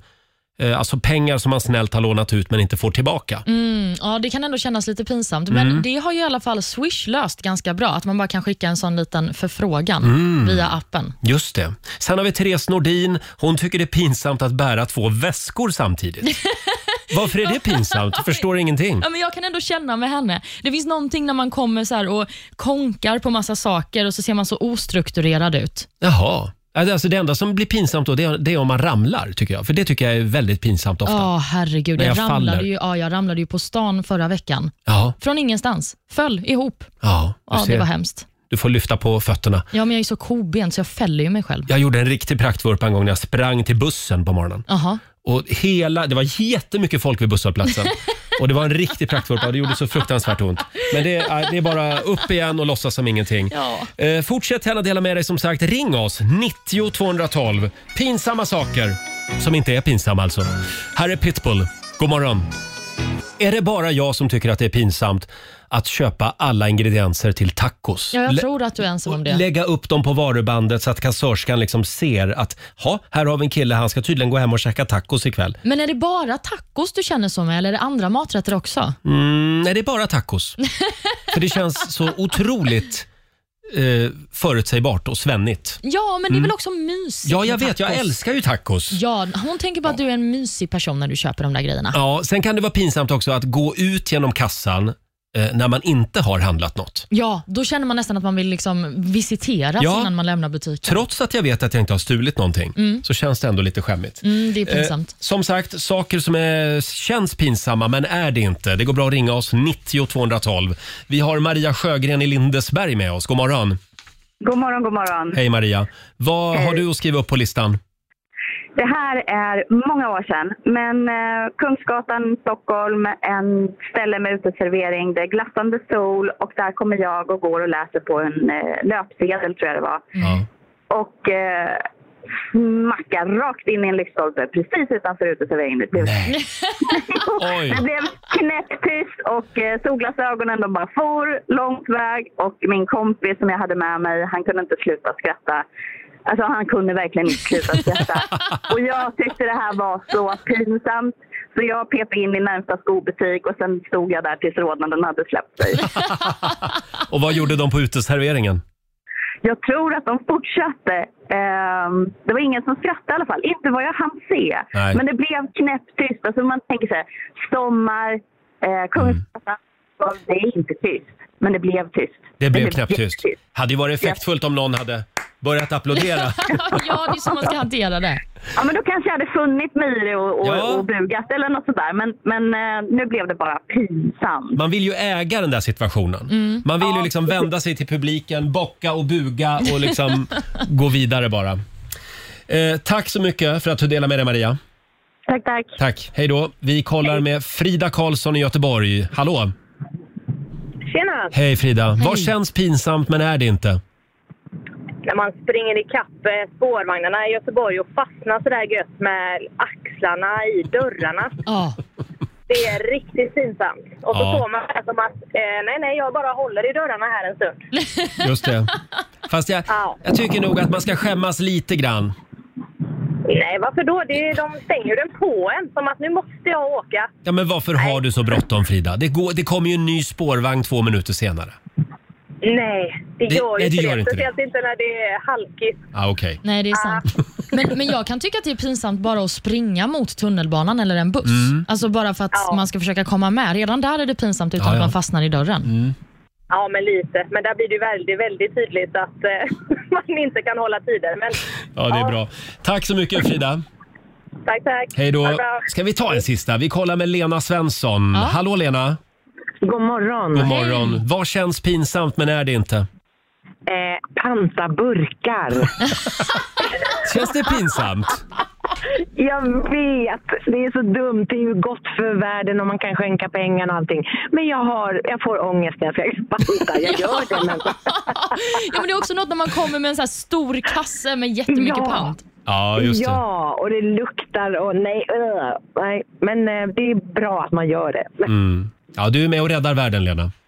[SPEAKER 1] Eh, alltså pengar som man snällt har lånat ut men inte får tillbaka.
[SPEAKER 2] Mm, ja, det kan ändå kännas lite pinsamt, men
[SPEAKER 1] Mm.
[SPEAKER 2] det har ju i alla fall Swish löst ganska bra. Att man bara kan skicka en sån liten förfrågan
[SPEAKER 1] Mm.
[SPEAKER 2] via appen.
[SPEAKER 1] Just det. Sen har vi Therese Nordin. Hon tycker det är pinsamt att bära två väskor samtidigt. Varför är det pinsamt? Jag förstår ingenting.
[SPEAKER 2] Ja, men jag kan ändå känna med henne. Det finns någonting när man kommer så här och konkar på massa saker och så ser man så ostrukturerad ut.
[SPEAKER 1] Jaha. Alltså det enda som blir pinsamt då det är, det är om man ramlar tycker jag. För det tycker jag är väldigt pinsamt ofta.
[SPEAKER 2] Ja, herregud.
[SPEAKER 1] När
[SPEAKER 2] Jag,
[SPEAKER 1] jag
[SPEAKER 2] ramlade
[SPEAKER 1] faller.
[SPEAKER 2] ju, ja, jag ramlade ju på stan förra veckan.
[SPEAKER 1] Ja,
[SPEAKER 2] Från ingenstans. Föll ihop.
[SPEAKER 1] ja, du,
[SPEAKER 2] Ja, det var
[SPEAKER 1] ser,
[SPEAKER 2] hemskt.
[SPEAKER 1] du får lyfta på fötterna.
[SPEAKER 2] Ja, men jag är så kobent så jag fäller ju mig själv.
[SPEAKER 1] Jag gjorde en riktig praktvurpa en gång när jag sprang till bussen på morgonen.
[SPEAKER 2] Jaha.
[SPEAKER 1] Och hela, det var jättemycket folk vid busshållplatsen. Och det var en riktig praktvurpa och det gjorde så fruktansvärt ont. Men det, är- det är bara upp igen och låtsas som ingenting.
[SPEAKER 2] Ja.
[SPEAKER 1] Eh, fortsätt gärna dela med dig som sagt. Ring oss, 90 212. Pinsamma saker som inte är pinsamma alltså. Här är Pitbull. God morgon. Är det bara jag som tycker att det är pinsamt att köpa alla ingredienser till tacos?
[SPEAKER 2] Ja, jag
[SPEAKER 1] Lä-
[SPEAKER 2] tror att du är ensam om
[SPEAKER 1] och
[SPEAKER 2] det.
[SPEAKER 1] Lägga upp dem på varubandet så att kassörskan liksom ser att ha, här har vi en kille, han ska tydligen gå hem och käka tacos ikväll.
[SPEAKER 2] Men är det bara tacos du känner så med eller är det andra maträtter också?
[SPEAKER 1] Mm, nej, det är bara tacos. För det känns så otroligt eh, förutsägbart och svennigt.
[SPEAKER 2] Ja, men det är väl också mysigt
[SPEAKER 1] Mm. Ja, jag
[SPEAKER 2] med
[SPEAKER 1] vet, jag
[SPEAKER 2] tacos?
[SPEAKER 1] älskar ju tacos.
[SPEAKER 2] Ja, hon tänker bara att du är en mysig person när du köper de där grejerna.
[SPEAKER 1] Ja, sen kan det vara pinsamt också att gå ut genom kassan eh, när man inte har handlat något.
[SPEAKER 2] Ja, då känner man nästan att man vill liksom visiteras
[SPEAKER 1] Ja.
[SPEAKER 2] innan man lämnar butiken.
[SPEAKER 1] Trots att jag vet att jag inte har stulit någonting så känns det ändå lite skämmigt.
[SPEAKER 2] Mm, det är pinsamt.
[SPEAKER 1] Eh, som sagt, saker som är, känns pinsamma men är det inte. Det går bra att ringa oss 90 212. Vi har Maria Sjögren i Lindesberg med oss. God morgon.
[SPEAKER 9] God morgon, god morgon.
[SPEAKER 1] Hej Maria. Vad har du att skriva upp på listan?
[SPEAKER 9] Det här är många år sedan, men eh, Kungsgatan, Stockholm, en ställe med uteservering, det är glassande sol och där kommer jag och går och läser på en eh, löpsedel, tror jag det var.
[SPEAKER 1] Ja.
[SPEAKER 9] Och eh, smackar rakt in i en lyktstolpe precis utanför uteserveringen. Det blev-
[SPEAKER 1] Nej. Oj.
[SPEAKER 9] Det blev knäpptyst och eh, solglasögonen de bara for långt väg och min kompis som jag hade med mig, han kunde inte sluta skratta. Alltså han kunde verkligen inte sluta skratta. Och jag tyckte det här var så pinsamt. Så jag pep in i närmsta skobutik och sen stod jag där tills rodnaden hade släppt sig.
[SPEAKER 1] Och vad gjorde de på uteserveringen?
[SPEAKER 9] Jag tror att de fortsatte. Ehm, det var ingen som skrattade i alla fall. Inte vad jag hann se.
[SPEAKER 1] Nej.
[SPEAKER 9] Men det blev knäpptyst. Alltså man tänker så här, sommar, eh,
[SPEAKER 1] Mm.
[SPEAKER 9] Kungsgatan. Det är inte tyst. Men det blev tyst.
[SPEAKER 1] Det
[SPEAKER 9] Men
[SPEAKER 1] blev knäpptyst.
[SPEAKER 9] jättetyst.
[SPEAKER 1] Hade ju varit effektfullt om någon hade börjat applådera.
[SPEAKER 2] ja, det är så man ska hantera det.
[SPEAKER 9] Ja, men då kanske jag hade funnit mig i det och, och,
[SPEAKER 1] Ja.
[SPEAKER 9] och bugat eller något sådär. Men, men eh, nu blev det bara pinsamt.
[SPEAKER 1] Man vill ju äga den där situationen. Man vill ju liksom vända sig till publiken, bocka och buga och liksom gå vidare bara. Eh, tack så mycket för att du delade med dig Maria.
[SPEAKER 9] Tack, tack.
[SPEAKER 1] Tack. Hej då. Vi kollar med Frida Karlsson i Göteborg. Hallå!
[SPEAKER 10] Tjena!
[SPEAKER 1] Hej Frida. Vad känns pinsamt men är det inte?
[SPEAKER 10] När man springer i kapp eh, spårvagnarna i Göteborg och fastnar sådär gött med axlarna i dörrarna.
[SPEAKER 2] Ja.
[SPEAKER 10] Det är riktigt pinsamt. Och så
[SPEAKER 1] Ja.
[SPEAKER 10] får man det som att eh, nej, nej, jag bara håller i dörrarna här en stund.
[SPEAKER 1] Just det. Fast jag,
[SPEAKER 10] Ja.
[SPEAKER 1] jag tycker nog att man ska skämmas lite grann.
[SPEAKER 10] Nej, varför då? Det är, de stänger den på en som att nu måste jag åka.
[SPEAKER 1] Ja, men varför har du så bråttom Frida? Det, går, det kommer ju en ny spårvagn två minuter senare.
[SPEAKER 10] Nej, det
[SPEAKER 1] Det-
[SPEAKER 10] gör ju
[SPEAKER 1] nej, det
[SPEAKER 10] inte
[SPEAKER 1] gör
[SPEAKER 10] det.
[SPEAKER 1] inte det.
[SPEAKER 10] Speciellt inte när det är halkigt.
[SPEAKER 1] Ah, Okej.
[SPEAKER 2] Nej, det är sant. Men, men jag kan tycka att det är pinsamt bara att springa mot tunnelbanan eller en buss.
[SPEAKER 1] Mm.
[SPEAKER 2] Alltså bara för att
[SPEAKER 10] Ja.
[SPEAKER 2] man ska försöka komma med. Redan där är det pinsamt utan
[SPEAKER 1] Ja, Mm. ja.
[SPEAKER 2] att man fastnar i dörren.
[SPEAKER 10] Ja, men lite. Men där blir det ju väldigt, väldigt tydligt att eh, man inte kan hålla tider. Men
[SPEAKER 1] Ja, det är
[SPEAKER 10] Ja.
[SPEAKER 1] bra. Tack så mycket Frida.
[SPEAKER 10] tack, tack.
[SPEAKER 1] Hej
[SPEAKER 10] Ha
[SPEAKER 1] då.
[SPEAKER 10] det bra.
[SPEAKER 1] Ska vi ta en sista? Vi kollar med Lena Svensson.
[SPEAKER 2] Ja.
[SPEAKER 1] Hallå Lena!
[SPEAKER 11] God morgon.
[SPEAKER 1] God morgon. Vad känns pinsamt men är det inte?
[SPEAKER 11] Eh, panta burkar.
[SPEAKER 1] Känns det pinsamt?
[SPEAKER 11] Jag vet, det är så dumt. Det är ju gott för världen och man kan skänka pengar och allting. Men jag, har, jag får ångest när jag försöker panta. Jag gör det. Men...
[SPEAKER 2] ja, men det är också något när man kommer med en så här stor kasse med jättemycket
[SPEAKER 11] Ja.
[SPEAKER 2] pant.
[SPEAKER 1] Ja, just det.
[SPEAKER 11] Ja, och det luktar och nej. öh, nej. Men eh, det är bra att man gör det.
[SPEAKER 1] Mm. Ja, du är med och räddar världen Lena. Mm.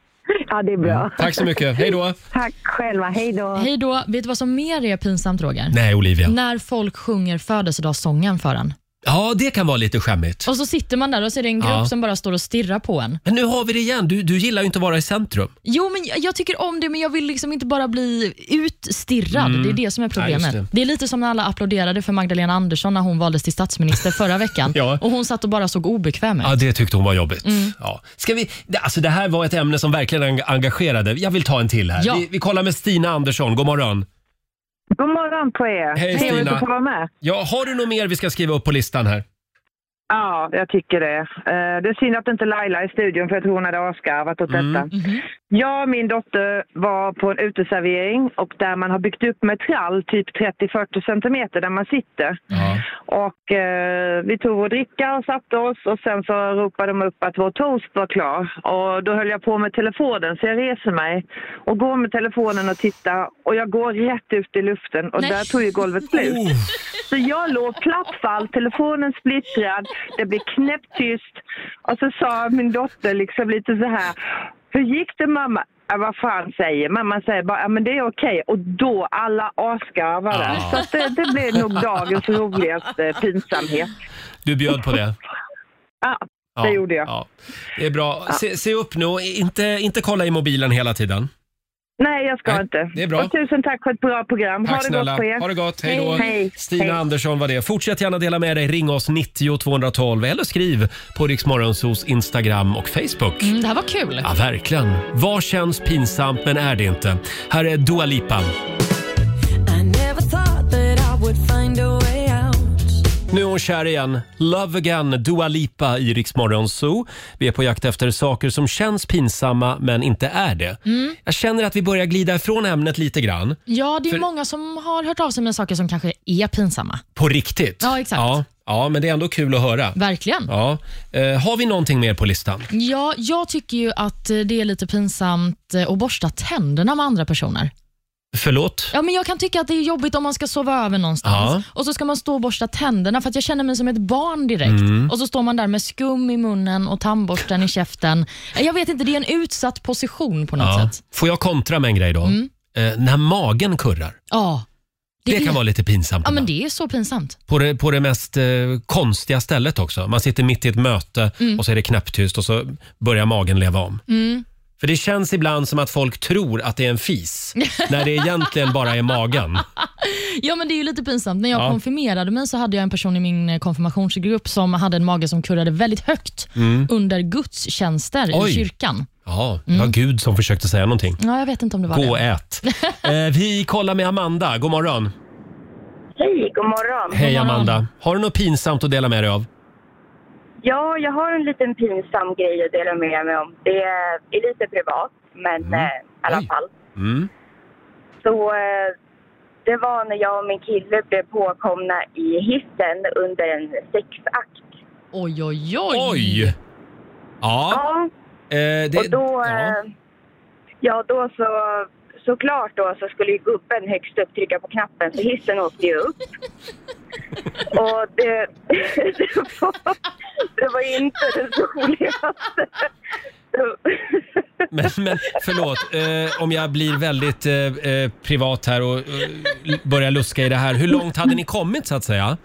[SPEAKER 11] Ja, det är bra.
[SPEAKER 1] Tack så mycket. Hej då!
[SPEAKER 11] Tack själva. Hej då.
[SPEAKER 2] Hej då. Vet du vad som mer är pinsamt, Roger?
[SPEAKER 1] Nej, Olivia.
[SPEAKER 2] När folk sjunger födelsedagssången för en.
[SPEAKER 1] Ja, det kan vara lite skämmigt.
[SPEAKER 2] Och så sitter man där och så är det en grupp
[SPEAKER 1] Ja.
[SPEAKER 2] som bara står och stirrar på en.
[SPEAKER 1] Men nu har vi det igen. Du, du gillar ju inte att vara i centrum.
[SPEAKER 2] Jo, men jag, jag tycker om det, men jag vill liksom inte bara bli utstirrad. Det är det som är problemet.
[SPEAKER 1] Ja, Mm. just det.
[SPEAKER 2] det. är lite som när alla applåderade för Magdalena Andersson när hon valdes till statsminister förra veckan.
[SPEAKER 1] Ja.
[SPEAKER 2] Och Hon satt och bara såg obekväm ut.
[SPEAKER 1] Ja, det tyckte hon var jobbigt.
[SPEAKER 2] Mm.
[SPEAKER 1] Ja. Ska vi, det- alltså det här var ett ämne som verkligen eng- engagerade. Jag vill ta en till här.
[SPEAKER 2] Ja.
[SPEAKER 1] Vi, vi kollar med Stina Andersson. God morgon.
[SPEAKER 11] God morgon på er.
[SPEAKER 1] Hej, Stina.
[SPEAKER 11] Trevligt att få vara med.
[SPEAKER 1] Ja, har du något mer vi ska skriva upp på listan här?
[SPEAKER 12] Ja, jag tycker det. Eh, Det är synd att inte Laila är i studion för jag tror hon hade avskarvat åt detta. Jag och min dotter var på en uteservering och där man har byggt upp med trall typ 30-40 centimeter där man sitter. Och eh, vi tog vår dricka och satte oss och sen så ropade de upp att vår toast var klar. Och då höll jag på med telefonen så jag reser mig och går med telefonen och tittar och jag går rätt ut i luften och
[SPEAKER 13] Nej.
[SPEAKER 12] där tog ju golvet slut. Så jag låg plattfall, telefonen splittrad, det blev knäpptyst. Och så sa min dotter liksom lite så här, hur gick det mamma? Ja, vad fan säger mamma? säger bara, ja men det är okej. Och då alla asgarvade.
[SPEAKER 1] Ja.
[SPEAKER 12] Så att det, det blev nog dagens roligaste pinsamhet.
[SPEAKER 1] Du bjöd på det.
[SPEAKER 12] Ja, det gjorde jag.
[SPEAKER 1] ja. Det är bra. Se, se upp nu och inte, inte kolla i mobilen hela tiden.
[SPEAKER 12] Nej, jag ska
[SPEAKER 1] Nej,
[SPEAKER 12] inte.
[SPEAKER 1] det är bra.
[SPEAKER 12] Och tusen tack för ett bra program.
[SPEAKER 1] Tack
[SPEAKER 12] ha det
[SPEAKER 1] snälla.
[SPEAKER 12] gott på er.
[SPEAKER 1] Ha det gott. Hej då.
[SPEAKER 12] Hej.
[SPEAKER 1] Stina
[SPEAKER 12] Hej.
[SPEAKER 1] Andersson var det. Fortsätt gärna dela med dig. Ring oss 90 212 eller skriv på Riksmorgonsos Instagram och Facebook.
[SPEAKER 2] Mm, det här var kul.
[SPEAKER 1] Ja, verkligen. Vad känns pinsamt men är det inte? Här är Dua Lipa.
[SPEAKER 13] I never thought that I would find a way out.
[SPEAKER 1] Nu är hon kär igen. Love again, Dua Lipa i Riksmorgon Zoo. Vi är på jakt efter saker som känns pinsamma men inte är det.
[SPEAKER 2] Mm.
[SPEAKER 1] Jag känner att vi börjar glida ifrån ämnet lite grann.
[SPEAKER 2] Ja, det är
[SPEAKER 1] För-
[SPEAKER 2] många som har hört av sig med saker som kanske är pinsamma.
[SPEAKER 1] På riktigt.
[SPEAKER 2] Ja, exakt.
[SPEAKER 1] Ja, ja men det är ändå kul att höra.
[SPEAKER 2] Verkligen.
[SPEAKER 1] Ja. Eh, har vi någonting mer på listan?
[SPEAKER 2] Ja, jag tycker ju att eh, det är lite pinsamt eh, att borsta tänderna med andra personer.
[SPEAKER 1] Förlåt?
[SPEAKER 2] Ja, men jag kan tycka att det är jobbigt om man ska sova över någonstans och så ska man stå och borsta tänderna för att jag känner mig som ett barn direkt.
[SPEAKER 1] Mm.
[SPEAKER 2] Och så står man där med skum i munnen och tandborsten i käften. Jag vet inte, det är en utsatt position på något
[SPEAKER 1] Ja.
[SPEAKER 2] sätt.
[SPEAKER 1] Får jag kontra med en grej då?
[SPEAKER 13] Mm.
[SPEAKER 1] Eh, när magen kurrar.
[SPEAKER 2] Ja,
[SPEAKER 1] Det,
[SPEAKER 2] är-
[SPEAKER 1] kan vara lite pinsamt.
[SPEAKER 2] ja men det är så pinsamt.
[SPEAKER 1] På det, på det mest eh, konstiga stället också. Man sitter mitt i ett möte
[SPEAKER 2] Mm.
[SPEAKER 1] och så är det knäpptyst och så börjar magen leva om.
[SPEAKER 2] Mm.
[SPEAKER 1] För det känns ibland som att folk tror att det är en fis när det egentligen bara är magen.
[SPEAKER 2] Ja men det är ju lite pinsamt. När jag
[SPEAKER 1] Ja.
[SPEAKER 2] konfirmerade mig så hade jag en person i min eh, konfirmationsgrupp som hade en mage som kurrade väldigt högt
[SPEAKER 1] Mm.
[SPEAKER 2] under gudstjänster
[SPEAKER 1] Oj.
[SPEAKER 2] i kyrkan.
[SPEAKER 1] Ja, det var Gud som försökte säga någonting.
[SPEAKER 2] Ja, jag vet inte om Mm. det var
[SPEAKER 1] Gå och
[SPEAKER 2] det.
[SPEAKER 1] ät. Eh, vi kollar med Amanda. God morgon.
[SPEAKER 14] Hej, god morgon.
[SPEAKER 1] Hej Amanda. Har du något pinsamt att dela med dig av?
[SPEAKER 14] Ja, jag har en liten pinsam grej att dela med mig om. Det är är lite privat, men
[SPEAKER 1] Mm.
[SPEAKER 14] eh, i alla fall.
[SPEAKER 1] Mm.
[SPEAKER 14] Så eh, det var när jag och min kille blev påkomna i hissen under en sexakt.
[SPEAKER 2] Oj, oj, oj.
[SPEAKER 1] Oj! Ja. Eh, det,
[SPEAKER 14] och då,
[SPEAKER 1] ja.
[SPEAKER 14] eh, ja, då så såklart då så skulle ju gubben högst upp trycka på knappen så hissen åkte ju upp. och det, det, var, det var inte det roligaste.
[SPEAKER 1] Men, men förlåt, eh, om jag blir väldigt eh, eh, privat här och eh, börjar luska i det här. Hur långt hade ni kommit så att säga?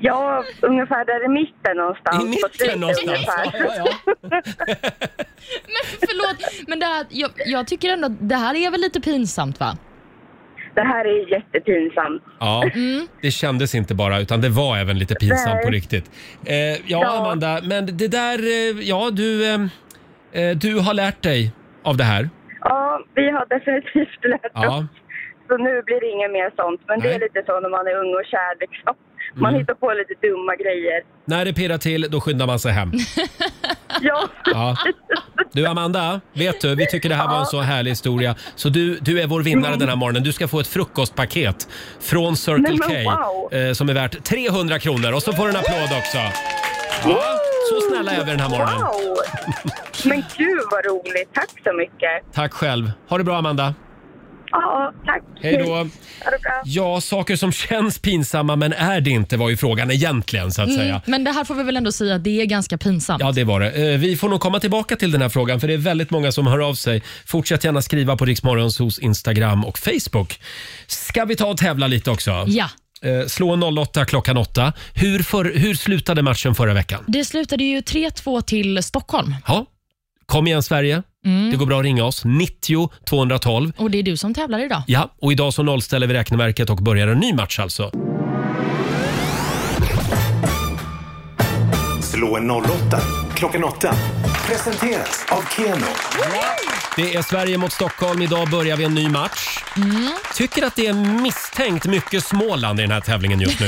[SPEAKER 14] Ja, ungefär där i mitten någonstans.
[SPEAKER 1] I
[SPEAKER 14] På
[SPEAKER 1] mitten
[SPEAKER 14] slutet
[SPEAKER 1] någonstans,
[SPEAKER 14] ungefär.
[SPEAKER 2] Förlåt, men det här, jag, jag tycker ändå att det här är väl lite pinsamt va?
[SPEAKER 14] Det här är jättepinsamt.
[SPEAKER 1] Ja, det kändes inte bara utan det var även lite pinsamt
[SPEAKER 14] Nej.
[SPEAKER 1] på riktigt. Eh, ja, Amanda, men det där, eh, ja du, eh, eh, du har lärt dig av det här.
[SPEAKER 14] Ja, vi har definitivt lärt
[SPEAKER 1] Ja.
[SPEAKER 14] oss. Så nu blir det inget mer sånt. Men det är
[SPEAKER 1] Nej.
[SPEAKER 14] lite så när man är ung och kär liksom. Man
[SPEAKER 1] Mm.
[SPEAKER 14] hittar på lite dumma grejer.
[SPEAKER 1] När det pirrar till, då skyndar man sig hem.
[SPEAKER 14] Ja,
[SPEAKER 1] Ja. Du Amanda, vet du, vi tycker det här var en så härlig historia. Så du, du är vår vinnare den här morgonen. Du ska få ett frukostpaket från Circle
[SPEAKER 13] Nej,
[SPEAKER 1] K
[SPEAKER 13] men wow.
[SPEAKER 1] eh, som är värt 300 kronor. Och så får du en applåd också. Ja, så snälla är vi den här morgonen.
[SPEAKER 14] wow! Men gud vad roligt. Tack så mycket.
[SPEAKER 1] Tack själv. Ha det bra Amanda.
[SPEAKER 14] Ja, tack.
[SPEAKER 1] Hej då.
[SPEAKER 14] Ha det bra.
[SPEAKER 1] Ja, saker som känns pinsamma men är det inte var ju frågan egentligen så att
[SPEAKER 2] Mm,
[SPEAKER 1] säga.
[SPEAKER 2] men det här får vi väl ändå säga att det är ganska pinsamt.
[SPEAKER 1] Ja, det var det. Eh, Vi får nog komma tillbaka till den här frågan för det är väldigt många som hör av sig. Fortsätt gärna skriva på Riksmorgons hos Instagram och Facebook. Ska vi ta och tävla lite också?
[SPEAKER 2] Ja.
[SPEAKER 1] Eh, Slå 08 klockan 8. Hur, för, hur slutade matchen förra veckan?
[SPEAKER 2] Det slutade ju 3-2 till Stockholm.
[SPEAKER 1] Ja, kom igen Sverige.
[SPEAKER 2] Mm.
[SPEAKER 1] Det går bra att ringa oss. 90 212.
[SPEAKER 2] Och det är du som tävlar idag.
[SPEAKER 1] Ja, och idag så nollställer vi räkneverket och börjar en ny match alltså.
[SPEAKER 4] Slå en 08 klockan 8. Presenteras av Keno.
[SPEAKER 1] Det är Sverige mot Stockholm. Idag börjar vi en ny match.
[SPEAKER 2] Mm.
[SPEAKER 1] Tycker att det är misstänkt mycket Småland i den här tävlingen just nu.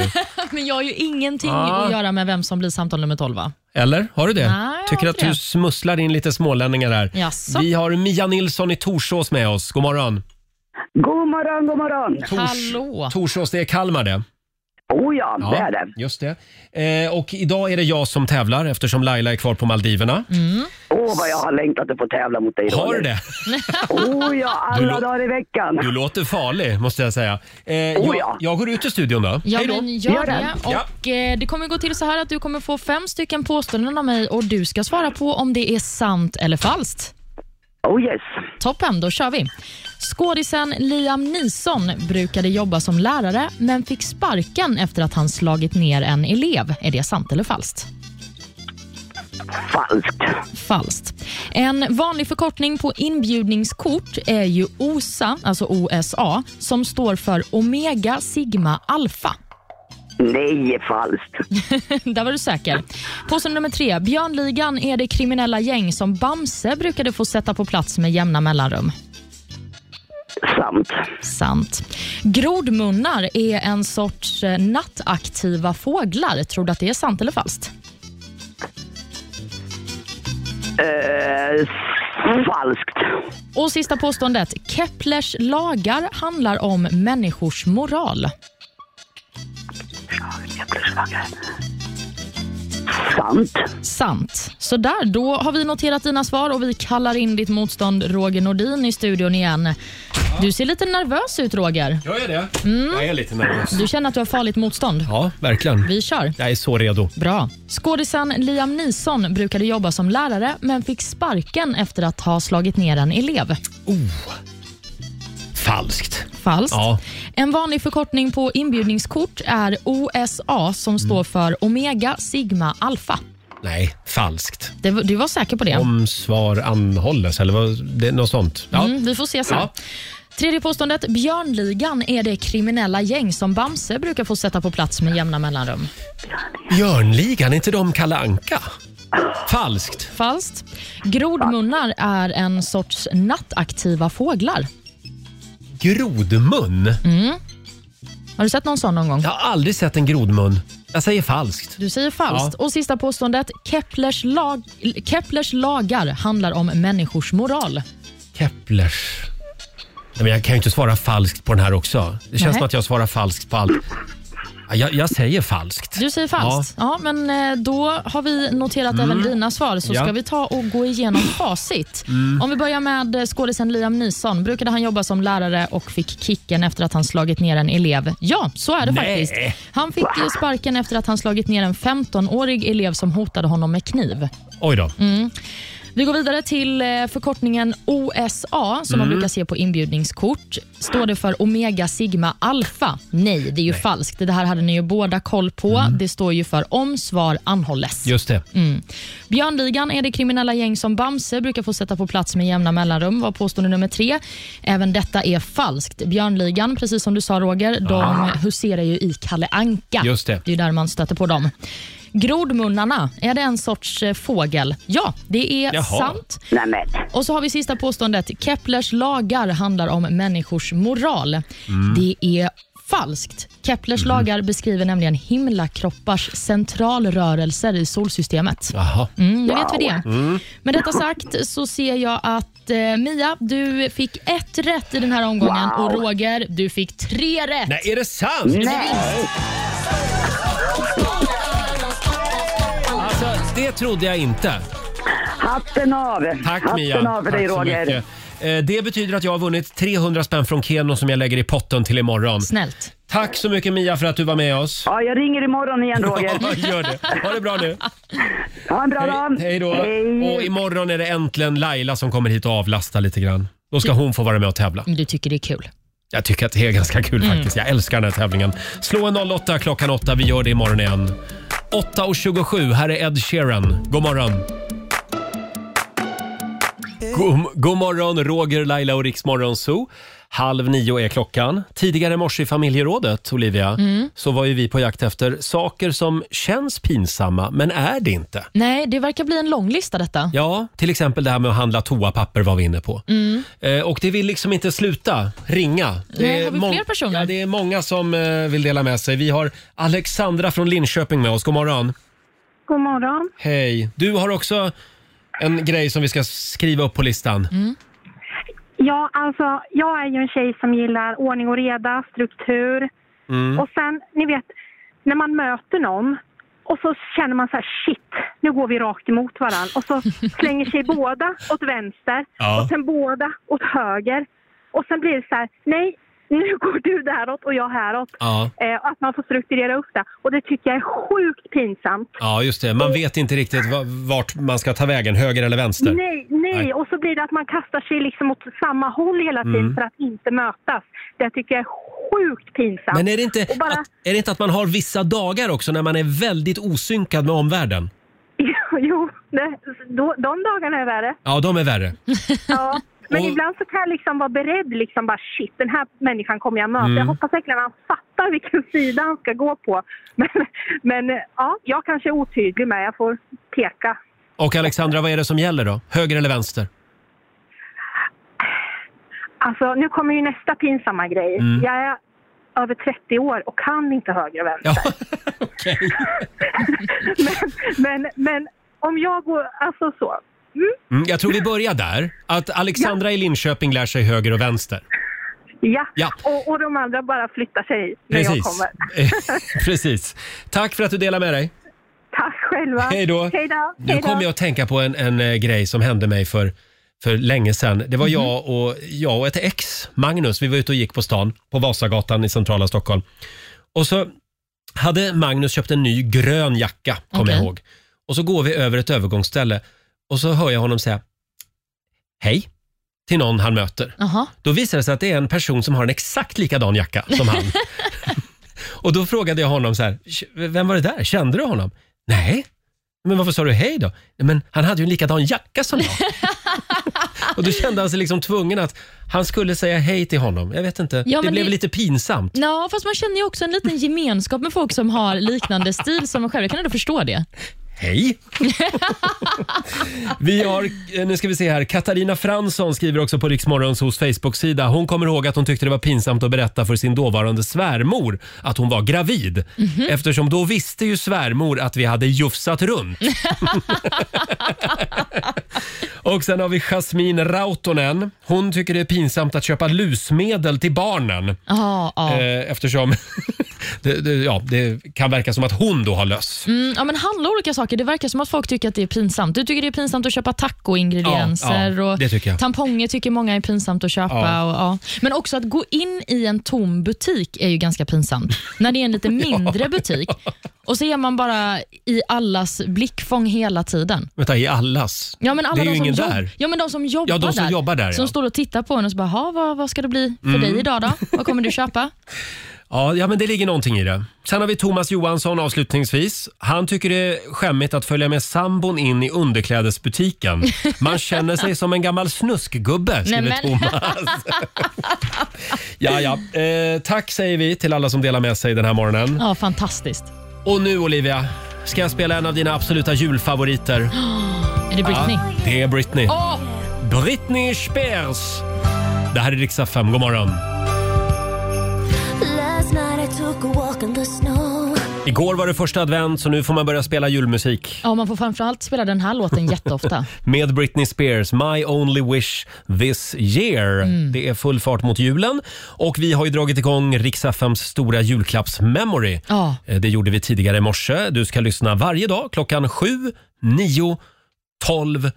[SPEAKER 2] Men jag har ju ingenting
[SPEAKER 1] Ja.
[SPEAKER 2] att göra med vem som blir samtal nummer 12 va?
[SPEAKER 1] Eller? Har du det?
[SPEAKER 2] Nej, jag
[SPEAKER 1] Tycker
[SPEAKER 2] har
[SPEAKER 1] att
[SPEAKER 2] inte
[SPEAKER 1] du
[SPEAKER 2] det.
[SPEAKER 1] smusslar in lite smålänningar här.
[SPEAKER 2] Jaså?
[SPEAKER 1] Vi har Mia Nilsson i Torsås med oss. God morgon.
[SPEAKER 15] God morgon, god morgon.
[SPEAKER 2] Hallå.
[SPEAKER 1] Torsås, det är Kalmar det.
[SPEAKER 15] Oh ja, det är det.
[SPEAKER 1] Just det. Eh, och idag är det jag som tävlar eftersom Laila är kvar på Maldiverna.
[SPEAKER 2] Mm.
[SPEAKER 15] Åh, vad jag har längtat att få tävla mot dig.
[SPEAKER 1] Har du
[SPEAKER 15] Roger.
[SPEAKER 1] det?
[SPEAKER 15] Oh ja,
[SPEAKER 1] Du
[SPEAKER 15] alla
[SPEAKER 1] lå-
[SPEAKER 15] dagar i veckan.
[SPEAKER 1] Du låter farlig, måste jag säga. Eh,
[SPEAKER 15] Oh,
[SPEAKER 1] jag, jag går ut ur studion då.
[SPEAKER 2] Ja,
[SPEAKER 1] Hej då.
[SPEAKER 2] men gör det.
[SPEAKER 1] Ja.
[SPEAKER 2] Och eh, det kommer gå till så här att du kommer få fem stycken påståenden av mig och du ska svara på om det är sant eller falskt.
[SPEAKER 15] Oh yes.
[SPEAKER 2] Toppen, då kör vi. Skådisen Liam Neeson brukade jobba som lärare men fick sparken efter att han slagit ner en elev. Är det sant eller falskt?
[SPEAKER 15] Falskt.
[SPEAKER 2] Falskt. En vanlig förkortning på inbjudningskort är ju OSA, alltså OSA, som står för Omega Sigma Alpha.
[SPEAKER 15] Nej, falskt.
[SPEAKER 2] Där var du säker. Påse nummer tre. Björnligan är det kriminella gäng som Bamse brukade få sätta på plats med jämna mellanrum.
[SPEAKER 15] Sant.
[SPEAKER 2] Sant. Grodmunnar är en sorts eh, nattaktiva fåglar. Tror du att det är sant eller falskt?
[SPEAKER 15] Eh, falskt.
[SPEAKER 2] Och sista påståendet. Keplers lagar handlar om människors moral.
[SPEAKER 15] Sant.
[SPEAKER 2] Sant. Så där, då har vi noterat dina svar och vi kallar in ditt motstånd Roger Nordin i studion igen. Du ser lite nervös ut Roger.
[SPEAKER 1] Jag är det.
[SPEAKER 2] Mm.
[SPEAKER 1] Jag är lite nervös.
[SPEAKER 2] Du känner att du har farligt motstånd?
[SPEAKER 1] Ja, verkligen.
[SPEAKER 2] Vi kör.
[SPEAKER 1] Jag är så redo.
[SPEAKER 2] Bra. Skådisen Liam Neeson brukade jobba som lärare men fick sparken efter att ha slagit ner en elev.
[SPEAKER 1] Oh. Falskt.
[SPEAKER 2] Falskt.
[SPEAKER 1] Ja.
[SPEAKER 2] En vanlig förkortning på inbjudningskort är OSA
[SPEAKER 1] Mm.
[SPEAKER 2] som står för Omega Sigma Alpha.
[SPEAKER 1] Nej, falskt.
[SPEAKER 2] Det, var- du var säker på det?
[SPEAKER 1] Om svar anhålles eller vad, det, något sånt. Ja.
[SPEAKER 2] Mm, vi får se sen.
[SPEAKER 1] Ja.
[SPEAKER 2] Tredje påståendet. Björnligan är det kriminella gäng som Bamse brukar få sätta på plats med jämna mellanrum.
[SPEAKER 1] Björnligan, är inte de Kalle Anka? Falskt.
[SPEAKER 2] Falskt. Grodmunnar är en sorts nattaktiva fåglar.
[SPEAKER 1] Grodmun?
[SPEAKER 2] Mm. Har du sett någon sån någon gång?
[SPEAKER 1] Jag har aldrig sett en grodmun. Jag säger falskt.
[SPEAKER 2] Du säger falskt. Och sista påståendet. Keplers, lag, Keplers lagar handlar om människors moral.
[SPEAKER 1] Keplers. Nej, men jag kan ju inte svara falskt på den här också. Det känns
[SPEAKER 2] Nej.
[SPEAKER 1] som att jag svarar falskt på allt. Ja, Jag, jag säger falskt.
[SPEAKER 2] Du säger falskt. Ja. men eh, då har vi noterat
[SPEAKER 1] Mm.
[SPEAKER 2] även dina svar, så
[SPEAKER 1] Ja.
[SPEAKER 2] ska vi ta och gå igenom facit.
[SPEAKER 1] Mm.
[SPEAKER 2] Om vi börjar med eh, skådisen Liam Neeson. Brukade han jobba som lärare och fick kicken efter att han slagit ner en elev? Ja, så är det
[SPEAKER 1] Nej.
[SPEAKER 2] faktiskt. Han fick eh, sparken efter att han slagit ner en 15-årig elev som hotade honom med kniv.
[SPEAKER 1] Oj då.
[SPEAKER 2] Mm. Vi går vidare till eh, förkortningen OSA, som
[SPEAKER 1] Mm.
[SPEAKER 2] man brukar se på inbjudningskort. Står det för Omega Sigma Alpha? Nej, det är ju falskt. Det här hade ni ju båda koll på. Det står ju för Om svar anhålles.
[SPEAKER 1] Just det.
[SPEAKER 2] Mm. Björnligan är det kriminella gäng som Bamse brukar få sätta på plats med jämna mellanrum, var påstående nummer tre. Även detta är falskt. Björnligan, precis som du sa Roger, de
[SPEAKER 1] Ah.
[SPEAKER 2] huserar ju i Kalle Anka.
[SPEAKER 1] Just det.
[SPEAKER 2] är ju där man stöter på dem. Grodmunnarna, är det en sorts eh, fågel? Ja, det är
[SPEAKER 1] Jaha.
[SPEAKER 2] sant.
[SPEAKER 15] Nämen.
[SPEAKER 2] Och så har vi sista påståendet. Keplers lagar handlar om människors moral.
[SPEAKER 15] Mm.
[SPEAKER 2] Det är falskt. Keplers
[SPEAKER 1] Mm.
[SPEAKER 2] lagar beskriver nämligen himlakroppars centralrörelser i solsystemet.
[SPEAKER 1] Jaha.
[SPEAKER 2] Mm, nu vet vi det.
[SPEAKER 1] Mm.
[SPEAKER 2] Med detta sagt så ser jag att eh, Mia, du fick ett rätt i den här omgången
[SPEAKER 1] Wow.
[SPEAKER 2] och Roger, du fick tre rätt.
[SPEAKER 1] Nej, är det sant?
[SPEAKER 2] Nej.
[SPEAKER 1] Alltså, det trodde jag inte.
[SPEAKER 15] Hatten av.
[SPEAKER 1] Tack
[SPEAKER 15] Hatten
[SPEAKER 1] Mia.
[SPEAKER 15] av för dig
[SPEAKER 1] Tack så
[SPEAKER 15] Roger.
[SPEAKER 1] mycket. Eh, Det betyder att jag har vunnit 300 spänn från Keno som jag lägger i potten till imorgon.
[SPEAKER 2] Snällt.
[SPEAKER 1] Tack så mycket Mia för att du var med oss.
[SPEAKER 15] Ja, jag ringer imorgon igen Roger.
[SPEAKER 1] Gör det. Ha det bra nu.
[SPEAKER 15] Ha en bra dag.
[SPEAKER 1] Hej då. Och imorgon är det äntligen Laila som kommer hit och avlastar lite grann. Då ska hon få vara med och tävla.
[SPEAKER 2] Men Du tycker det är kul.
[SPEAKER 1] Jag tycker att det är ganska kul
[SPEAKER 2] Mm.
[SPEAKER 1] faktiskt. Jag älskar den här tävlingen. Slå en 08 klockan 8. Vi gör det imorgon igen. 8.27, här är Ed Sheeran. God morgon! God, god morgon, Roger, Laila och Riksmorgon Zoo. Halv nio är klockan. Tidigare i morse i familjerådet, Olivia,
[SPEAKER 2] Mm.
[SPEAKER 1] så var ju vi på jakt efter saker som känns pinsamma, men är det inte.
[SPEAKER 2] Nej, det verkar bli en lång lista detta.
[SPEAKER 1] Ja, till exempel det här med att handla toapapper var vi inne på.
[SPEAKER 2] Mm.
[SPEAKER 1] Eh, Och det vill liksom inte sluta ringa.
[SPEAKER 2] Nej, har vi
[SPEAKER 1] mång-
[SPEAKER 2] fler personer?
[SPEAKER 1] Ja, det är många som eh, vill dela med sig. Vi har Alexandra från Linköping med oss. God morgon.
[SPEAKER 16] God morgon.
[SPEAKER 1] Hej. Du har också en grej som vi ska skriva upp på listan.
[SPEAKER 2] Mm.
[SPEAKER 16] Ja, alltså, jag är ju en tjej som gillar ordning och reda, struktur.
[SPEAKER 1] Mm.
[SPEAKER 16] Och sen, ni vet, när man möter någon och så känner man så här, shit, nu går vi rakt emot varandra. Och så slänger sig båda åt vänster
[SPEAKER 1] Ja.
[SPEAKER 16] och sen båda åt höger. Och sen blir det så här, nej, nu går du däråt och jag häråt.
[SPEAKER 1] Ja.
[SPEAKER 16] Eh, att man får strukturera upp det. Och det tycker jag är sjukt pinsamt.
[SPEAKER 1] Ja, just det. Man vet inte riktigt va- vart man ska ta vägen, höger eller vänster.
[SPEAKER 16] Nej, nej,
[SPEAKER 1] Nej.
[SPEAKER 16] och så blir det att man kastar sig liksom åt samma håll hela tiden
[SPEAKER 1] Mm.
[SPEAKER 16] för att inte mötas. Det tycker jag är sjukt pinsamt.
[SPEAKER 1] Men är det, inte
[SPEAKER 16] Och bara,
[SPEAKER 1] att, är det inte att man har vissa dagar också när man är väldigt osynkad med omvärlden?
[SPEAKER 16] jo, det, då, de dagarna är värre.
[SPEAKER 1] Ja, de är värre.
[SPEAKER 16] Ja. Men
[SPEAKER 1] Och-
[SPEAKER 16] ibland så kan jag liksom vara beredd liksom bara shit, den här människan kommer jag möta.
[SPEAKER 1] Mm.
[SPEAKER 16] Jag hoppas verkligen att han fattar vilken sida han ska gå på. Men, men ja, jag kanske är otydlig med, jag får peka.
[SPEAKER 1] Och Alexandra, vad är det som gäller då? Höger eller vänster?
[SPEAKER 16] Alltså, nu kommer ju nästa pinsamma grej.
[SPEAKER 1] Mm.
[SPEAKER 16] Jag är över 30 år och kan inte höger och vänster. men, men, men om jag går, alltså så. Mm,
[SPEAKER 1] Mm, jag tror vi börjar där. Att Alexandra i Linköping lär sig höger och vänster.
[SPEAKER 16] ja.
[SPEAKER 1] Ja.
[SPEAKER 16] Och, och de andra bara flyttar sig när jag
[SPEAKER 1] Precis.
[SPEAKER 16] kommer.
[SPEAKER 1] Precis. Tack för att du delar med dig.
[SPEAKER 16] Tack själva.
[SPEAKER 1] Hej då.
[SPEAKER 16] Hej då.
[SPEAKER 1] Nu
[SPEAKER 16] Hej då.
[SPEAKER 1] kom jag att tänka på en, en eh, grej som hände mig för, för länge sedan. Det var
[SPEAKER 16] Mhm.
[SPEAKER 1] jag, och, jag och ett ex, Magnus, vi var ute och gick på stan på Vasagatan i centrala Stockholm. Och så hade Magnus köpt en ny grön jacka, kommer
[SPEAKER 17] Okej.
[SPEAKER 1] jag ihåg. Och så går vi över ett övergångsställe och så hör jag honom säga hej till någon han möter.
[SPEAKER 2] Jaha.
[SPEAKER 1] Då visar det sig att det är en person som har en exakt likadan jacka som han. och då frågade jag honom så här, vem var det där? Kände du honom? Nej. Men varför sa du hej då? "Nej, Men han hade ju en likadan jacka som jag. och då kände han sig liksom tvungen att han skulle säga hej till honom. Jag vet inte,
[SPEAKER 2] Ja,
[SPEAKER 1] det
[SPEAKER 2] men
[SPEAKER 1] blev
[SPEAKER 2] det-
[SPEAKER 1] lite pinsamt.
[SPEAKER 2] Ja, fast man känner ju också en liten gemenskap med folk som har liknande stil som en själv. Jag kan ändå förstå det.
[SPEAKER 1] Hej! vi har, eh, nu ska vi se här, Katarina Fransson skriver också på Riksmorgons hos Facebook-sida. Hon kommer ihåg att hon tyckte det var pinsamt att berätta för sin dåvarande svärmor att hon var gravid.
[SPEAKER 2] Mhm.
[SPEAKER 1] Eftersom då visste ju svärmor att vi hade jufsat runt. Och sen har vi Jasmine Rautonen. Hon tycker det är pinsamt att köpa lusmedel till barnen.
[SPEAKER 2] Ja, ja.
[SPEAKER 1] Eh, Eftersom det, det, ja, det kan verka som att hon då har löss.
[SPEAKER 2] Mm, ja, men handla olika saker. Det verkar som att folk tycker att det är pinsamt. Du tycker det är pinsamt att köpa tacoingredienser.
[SPEAKER 1] Ja, ja,
[SPEAKER 2] och
[SPEAKER 1] det tycker jag.
[SPEAKER 2] Tamponger tycker många är pinsamt att köpa.
[SPEAKER 1] Ja.
[SPEAKER 2] Och, ja. Men också att gå in i en tom butik är ju ganska pinsamt. När det är en lite mindre butik och så är man bara i allas blickfång hela tiden.
[SPEAKER 1] Vänta, i allas?
[SPEAKER 2] Ja, men alla
[SPEAKER 1] det är
[SPEAKER 2] de
[SPEAKER 1] ju
[SPEAKER 2] som
[SPEAKER 1] ingen
[SPEAKER 2] jobb-
[SPEAKER 1] där.
[SPEAKER 2] Ja, men de som jobbar
[SPEAKER 1] Ja, de som
[SPEAKER 2] där.
[SPEAKER 1] jobbar där,
[SPEAKER 2] Som
[SPEAKER 1] ja.
[SPEAKER 2] står och tittar på en och så bara, "Ha, vad, vad ska det bli för
[SPEAKER 1] Mm.
[SPEAKER 2] dig idag då? Vad kommer du köpa?
[SPEAKER 1] Ja, ja, men det ligger någonting i det. Sen har vi Thomas Johansson avslutningsvis. Han tycker det är skämmigt att följa med sambon in i underklädesbutiken. Man känner sig som en gammal snuskgubbe, skriver
[SPEAKER 2] Nej, men-
[SPEAKER 1] Thomas. Ja, ja. Eh, tack säger vi till alla som delar med sig den här morgonen.
[SPEAKER 2] Ja, fantastiskt.
[SPEAKER 1] Och nu Olivia, ska jag spela en av dina absoluta julfavoriter.
[SPEAKER 2] Är det Britney?
[SPEAKER 1] Ja, det är Britney.
[SPEAKER 2] Åh!
[SPEAKER 1] Britney Spears! Det här är riksdag 5, god morgon.
[SPEAKER 6] Last night I took a walk in the snow.
[SPEAKER 1] Igår var det första advent så nu får man börja spela julmusik.
[SPEAKER 2] Ja, man får framförallt spela den här låten jätteofta.
[SPEAKER 1] med Britney Spears, My Only Wish This Year.
[SPEAKER 2] Mm.
[SPEAKER 1] Det är full fart mot julen och vi har ju dragit igång Riks-FMs stora julklappsmemory.
[SPEAKER 2] Ja.
[SPEAKER 1] Eh, Det gjorde vi tidigare i morse. Du ska lyssna varje dag klockan 7, 9, 12,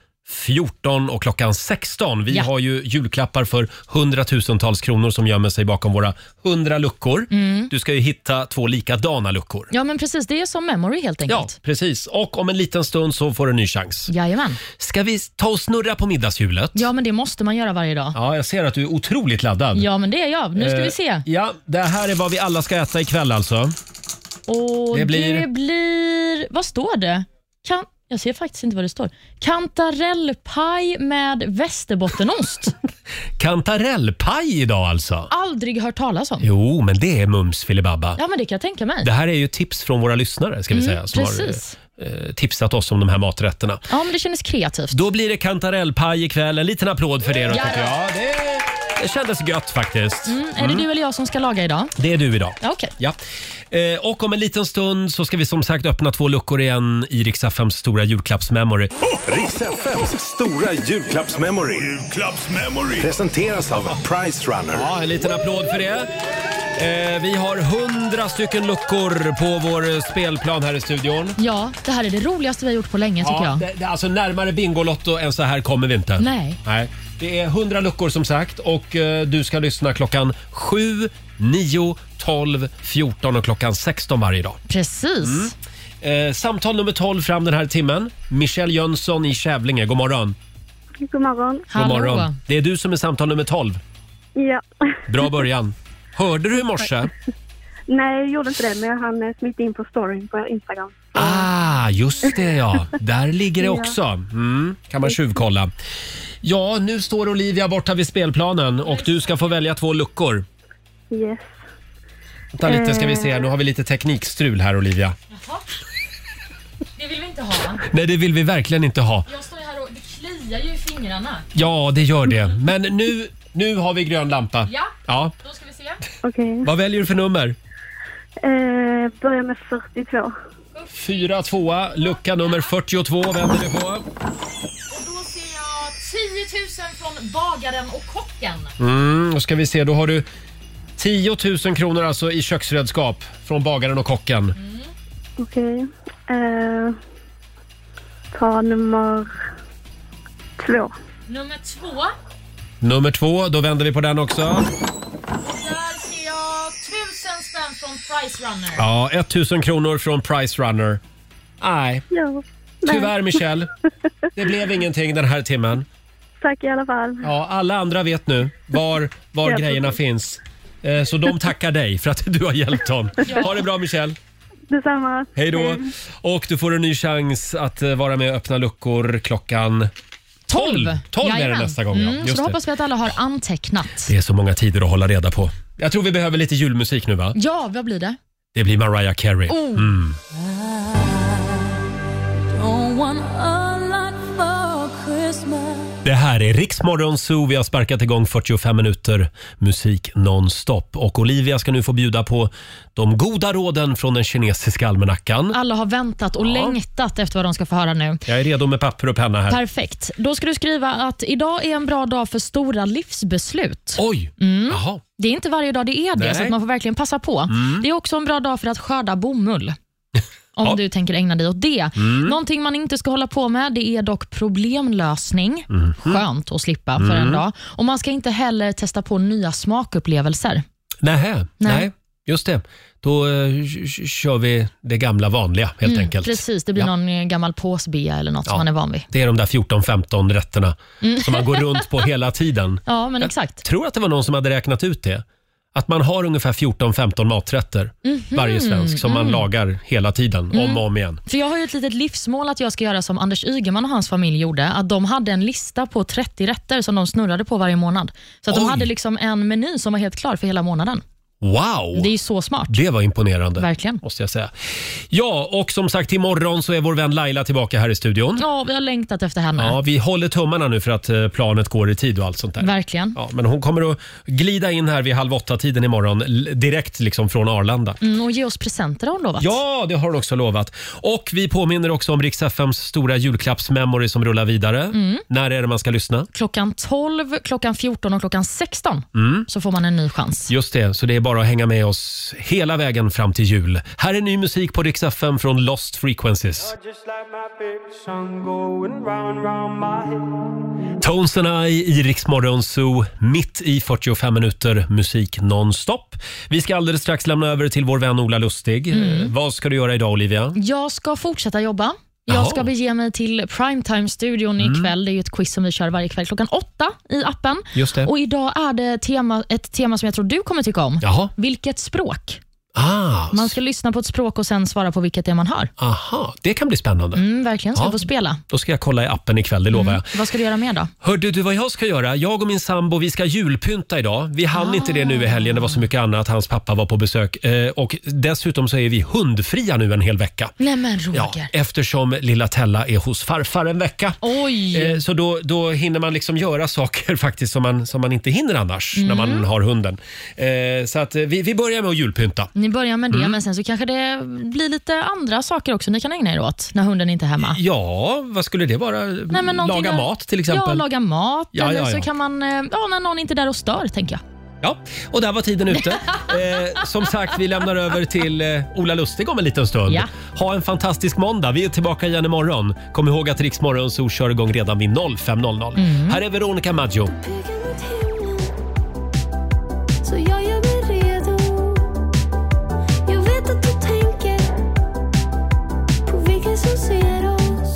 [SPEAKER 1] 14 och klockan 16. Vi
[SPEAKER 2] Ja.
[SPEAKER 1] har ju julklappar för hundratusentals kronor som gömmer sig bakom våra hundra luckor.
[SPEAKER 2] Mm.
[SPEAKER 1] Du ska ju hitta två likadana luckor.
[SPEAKER 2] Ja, men precis. Det är som memory helt
[SPEAKER 1] Ja,
[SPEAKER 2] enkelt.
[SPEAKER 1] precis. Och om en liten stund så får du en ny chans.
[SPEAKER 2] Jajamän.
[SPEAKER 1] Ska vi ta och snurra på middagshjulet?
[SPEAKER 2] Ja, men det måste man göra varje dag.
[SPEAKER 1] Ja, jag ser att du är otroligt laddad.
[SPEAKER 2] Ja, men det är jag. Nu ska
[SPEAKER 1] Eh,
[SPEAKER 2] vi se.
[SPEAKER 1] Ja, det här är vad vi alla ska äta ikväll alltså.
[SPEAKER 2] Och
[SPEAKER 1] det
[SPEAKER 2] det
[SPEAKER 1] blir-
[SPEAKER 2] blir... Vad står det? Kan... Jag ser faktiskt inte vad det står. Kantarellpaj med västerbottenost.
[SPEAKER 1] Kantarellpaj idag alltså.
[SPEAKER 2] Aldrig hört talas om.
[SPEAKER 1] Jo, men det är mums filibabba.
[SPEAKER 2] Ja, men det kan jag tänka mig.
[SPEAKER 1] Det här är ju tips från våra lyssnare ska vi
[SPEAKER 2] Mm,
[SPEAKER 1] säga. Som
[SPEAKER 2] precis.
[SPEAKER 1] har eh, tipsat oss om de här maträtterna.
[SPEAKER 2] Ja, men det kändes kreativt.
[SPEAKER 1] Då blir det kantarellpaj ikväll. En liten applåd för det då,
[SPEAKER 2] Ja.
[SPEAKER 1] tycker jag. Det, det kändes gött faktiskt.
[SPEAKER 2] Mm, är det
[SPEAKER 1] Mm.
[SPEAKER 2] du eller jag som ska laga idag?
[SPEAKER 1] Det är du idag.
[SPEAKER 2] Ja, Okej.
[SPEAKER 1] Ja. Eh, och om en liten stund så ska vi som sagt öppna två luckor igen i Rix FMs stora julklappsmemory.
[SPEAKER 4] Riks FMs stora julklappsmemory. Julklappsmemory. Presenteras av Price Runner.
[SPEAKER 1] Ja, en liten applåd för det. Eh, vi har hundra stycken luckor på vår eh, spelplan här i studion.
[SPEAKER 2] Ja, det här är det roligaste vi har gjort på länge tycker jag.
[SPEAKER 1] det, det, alltså närmare Bingolotto än så här kommer vi inte.
[SPEAKER 2] Nej.
[SPEAKER 1] Nej. Det är 100 luckor som sagt och eh, du ska lyssna klockan 7, 9, 12, 14 och klockan 16 varje dag.
[SPEAKER 2] Precis.
[SPEAKER 1] Mm. Eh, samtal nummer 12 fram den här timmen. Michelle Jönsson i Kävlinge, god morgon.
[SPEAKER 17] God morgon.
[SPEAKER 1] God morgon. Det är du som är samtal nummer 12.
[SPEAKER 17] Ja.
[SPEAKER 1] Bra början. Hörde du i morse?
[SPEAKER 17] Nej, jag gjorde inte det, men jag hann smita in på storyn på Instagram.
[SPEAKER 1] Ah, just det ja. Där ligger det
[SPEAKER 17] Ja.
[SPEAKER 1] också. Mm, kan man tjuvkolla. Ja, nu står Olivia borta vid spelplanen och du ska få välja två luckor.
[SPEAKER 17] Yes.
[SPEAKER 1] Vänta lite ska vi se, nu har vi lite teknikstrul här Olivia.
[SPEAKER 2] Det vill vi inte ha.
[SPEAKER 1] Nej, det vill vi verkligen inte ha.
[SPEAKER 2] Jag står här och det kliar ju i fingrarna.
[SPEAKER 1] Ja, det gör det. Men nu, nu har vi grön lampa.
[SPEAKER 2] Ja.
[SPEAKER 1] ja.
[SPEAKER 2] Då ska vi se.
[SPEAKER 17] Okej.
[SPEAKER 1] Vad väljer du för nummer?
[SPEAKER 17] Eh, börja med 42.
[SPEAKER 1] Fyra tvåa, lucka nummer 42 vänder vi på.
[SPEAKER 2] Och då ser jag 10 000 från bagaren och kocken.
[SPEAKER 1] Mm, då ska vi se, då har du 10 000 kronor alltså i köksredskap från bagaren och kocken.
[SPEAKER 2] Mm.
[SPEAKER 17] Okej. Eh, ta nummer två.
[SPEAKER 2] Nummer två.
[SPEAKER 1] Nummer två, då vänder vi på den också.
[SPEAKER 2] Och där ser jag 1000 spänn från Price Runner.
[SPEAKER 1] Ja, 1000 kronor från Price Runner. Nej,
[SPEAKER 17] Ja.
[SPEAKER 1] tyvärr Michelle. Det blev ingenting den här timmen.
[SPEAKER 17] Tack i alla fall.
[SPEAKER 1] Ja, alla andra vet nu var, var
[SPEAKER 17] Ja.
[SPEAKER 1] grejerna finns. Eh, Så de tackar dig för att du har hjälpt dem. Ha det bra Michelle.
[SPEAKER 17] Detsamma.
[SPEAKER 1] Hej då. Och du får en ny chans att eh, vara med och öppna luckor klockan 12. 12 är det
[SPEAKER 2] Jajamän.
[SPEAKER 1] nästa gång.
[SPEAKER 2] Mm,
[SPEAKER 1] ja.
[SPEAKER 2] så
[SPEAKER 1] Just
[SPEAKER 2] då
[SPEAKER 1] det.
[SPEAKER 2] hoppas vi att alla har antecknat.
[SPEAKER 1] det är så många tider att hålla reda på. Jag tror vi behöver lite julmusik nu va?
[SPEAKER 2] Ja, vad blir det?
[SPEAKER 1] Det blir Mariah Carey.
[SPEAKER 2] Oh.
[SPEAKER 1] Mm.
[SPEAKER 6] Oh,
[SPEAKER 13] Don't want a lot for Christmas.
[SPEAKER 1] Det här är Riksmorgon Zoo. Vi har sparkat igång 45 minuter musik nonstop. Och Olivia ska nu få bjuda på de goda råden från den kinesiska almanackan.
[SPEAKER 2] Alla har väntat och längtat efter vad de ska få höra nu.
[SPEAKER 1] Jag är redo med papper och penna här.
[SPEAKER 2] Perfekt. Då ska du skriva att idag är en bra dag för stora livsbeslut.
[SPEAKER 1] Oj!
[SPEAKER 2] Mm.
[SPEAKER 1] Jaha.
[SPEAKER 2] Det är inte varje dag det är det,
[SPEAKER 1] Nej.
[SPEAKER 2] så att man får verkligen passa på.
[SPEAKER 1] Mm.
[SPEAKER 2] Det är också en bra dag för att skörda bomull. Om du tänker ägna dig åt det.
[SPEAKER 13] Mm.
[SPEAKER 2] Någonting man inte ska hålla på med det är dock problemlösning.
[SPEAKER 13] Mhm.
[SPEAKER 2] Skönt att slippa för
[SPEAKER 1] Mm.
[SPEAKER 2] en dag. Och Man ska inte heller testa på nya smakupplevelser.
[SPEAKER 1] Nähä. Nej.
[SPEAKER 2] Nej.
[SPEAKER 1] just det. Då eh, k- k- kör vi det gamla vanliga helt
[SPEAKER 2] Mm,
[SPEAKER 1] enkelt.
[SPEAKER 2] Precis, det blir
[SPEAKER 1] Ja.
[SPEAKER 2] någon eh, gammal påsbea eller något som man är van vid.
[SPEAKER 1] Det är de där 14-15 rätterna
[SPEAKER 2] Mm.
[SPEAKER 1] som man går runt på hela tiden.
[SPEAKER 2] Ja, men exakt.
[SPEAKER 1] Jag tror att det var någon som hade räknat ut det. Att man har ungefär 14-15 maträtter
[SPEAKER 2] Mhm.
[SPEAKER 1] varje svensk som man
[SPEAKER 2] Mm.
[SPEAKER 1] lagar hela tiden, om
[SPEAKER 2] Mm.
[SPEAKER 1] och om igen.
[SPEAKER 2] För Jag har ju ett litet livsmål att jag ska göra som Anders Ygeman och hans familj gjorde. Att De hade en lista på 30 rätter som de snurrade på varje månad. Så att de
[SPEAKER 1] Oj.
[SPEAKER 2] hade liksom en meny som var helt klar för hela månaden.
[SPEAKER 1] Wow!
[SPEAKER 2] Det är ju så smart.
[SPEAKER 1] Det var imponerande.
[SPEAKER 2] Verkligen.
[SPEAKER 1] Måste jag säga. Ja, och som sagt imorgon så är vår vän Laila tillbaka här i studion.
[SPEAKER 2] Ja, vi har längtat efter henne.
[SPEAKER 1] Ja, vi håller tummarna nu för att eh, planet går i tid och allt sånt där.
[SPEAKER 2] Verkligen.
[SPEAKER 1] Ja, men hon kommer att glida in här vid halv åtta-tiden imorgon, l- direkt liksom från Arlanda.
[SPEAKER 2] Mm, och ge oss presenter har hon lovat.
[SPEAKER 1] Ja, det har hon också lovat. Och vi påminner också om Rix FMs stora julklappsmemory som rullar vidare.
[SPEAKER 2] Mm.
[SPEAKER 1] När är det man ska lyssna?
[SPEAKER 2] Klockan 12, klockan 14 och klockan 16
[SPEAKER 1] Mm.
[SPEAKER 2] så får man en ny chans.
[SPEAKER 1] Just det, så det är bara att hänga med oss hela vägen fram till jul. Här är ny musik på Rix FM från Lost Frequencies. Tones and I i Rix Morgon Zoo, mitt i 45 minuter musik nonstop. Vi ska alldeles strax lämna över till vår vän Ola Lustig.
[SPEAKER 2] Mm.
[SPEAKER 1] Eh, Vad ska du göra idag Olivia?
[SPEAKER 2] Jag ska fortsätta jobba. Jag
[SPEAKER 1] Jaha.
[SPEAKER 2] ska bege mig till Primetime-studion
[SPEAKER 1] Mm.
[SPEAKER 2] ikväll. Det är ju ett quiz som vi kör varje kväll klockan åtta i appen.
[SPEAKER 1] Just det.
[SPEAKER 2] Och Idag är det tema, ett tema som jag tror du kommer tycka om.
[SPEAKER 1] Jaha.
[SPEAKER 2] Vilket språk?
[SPEAKER 1] Ah, oss.
[SPEAKER 2] Man ska lyssna på ett språk och sen svara på vilket det är man hör.
[SPEAKER 1] Aha, det kan bli spännande.
[SPEAKER 2] Mm, verkligen, ska
[SPEAKER 1] Ja.
[SPEAKER 2] du få spela.
[SPEAKER 1] Då ska jag kolla i appen ikväll, det lovar jag.
[SPEAKER 2] Vad ska du göra mer då?
[SPEAKER 1] Hörde du vad jag ska göra? Jag och min sambo vi ska julpynta idag. Vi hann inte det nu i helgen, det var så mycket annat. Hans pappa var på besök. Eh, och dessutom så är vi hundfria nu en hel vecka.
[SPEAKER 2] Nej men
[SPEAKER 1] Ja,
[SPEAKER 2] Roger.
[SPEAKER 1] eftersom lilla Tella är hos farfar en vecka.
[SPEAKER 2] Oj!
[SPEAKER 1] Eh, så då, då hinner man liksom göra saker faktiskt som man, som man inte hinner annars när
[SPEAKER 2] Mm.
[SPEAKER 1] man har hunden. Eh, så att eh, vi, vi börjar med att julpynta.
[SPEAKER 2] Ni börjar med det,
[SPEAKER 1] Mm.
[SPEAKER 2] men sen så kanske det blir lite andra saker också ni kan ägna er åt när hunden inte är hemma.
[SPEAKER 1] Ja, vad skulle det vara?
[SPEAKER 2] Nej, men någonting
[SPEAKER 1] laga
[SPEAKER 2] där-
[SPEAKER 1] mat till exempel?
[SPEAKER 2] Ja, laga mat.
[SPEAKER 1] Ja,
[SPEAKER 2] eller
[SPEAKER 1] ja,
[SPEAKER 2] så
[SPEAKER 1] ja.
[SPEAKER 2] kan man, eh, ja, när någon inte är där och stör, tänker jag.
[SPEAKER 1] Ja, och där var tiden ute. Eh, som sagt, vi lämnar över till eh, Ola Lustig om en liten stund.
[SPEAKER 2] Ja.
[SPEAKER 1] Ha en fantastisk måndag. Vi är tillbaka igen imorgon. Kom ihåg att Rix Morgon Zoo kör igång redan vid 05.00. Här är Veronica Maggio.
[SPEAKER 13] Så jag gör mig redo Jag vet att du tänker på vilka som ser oss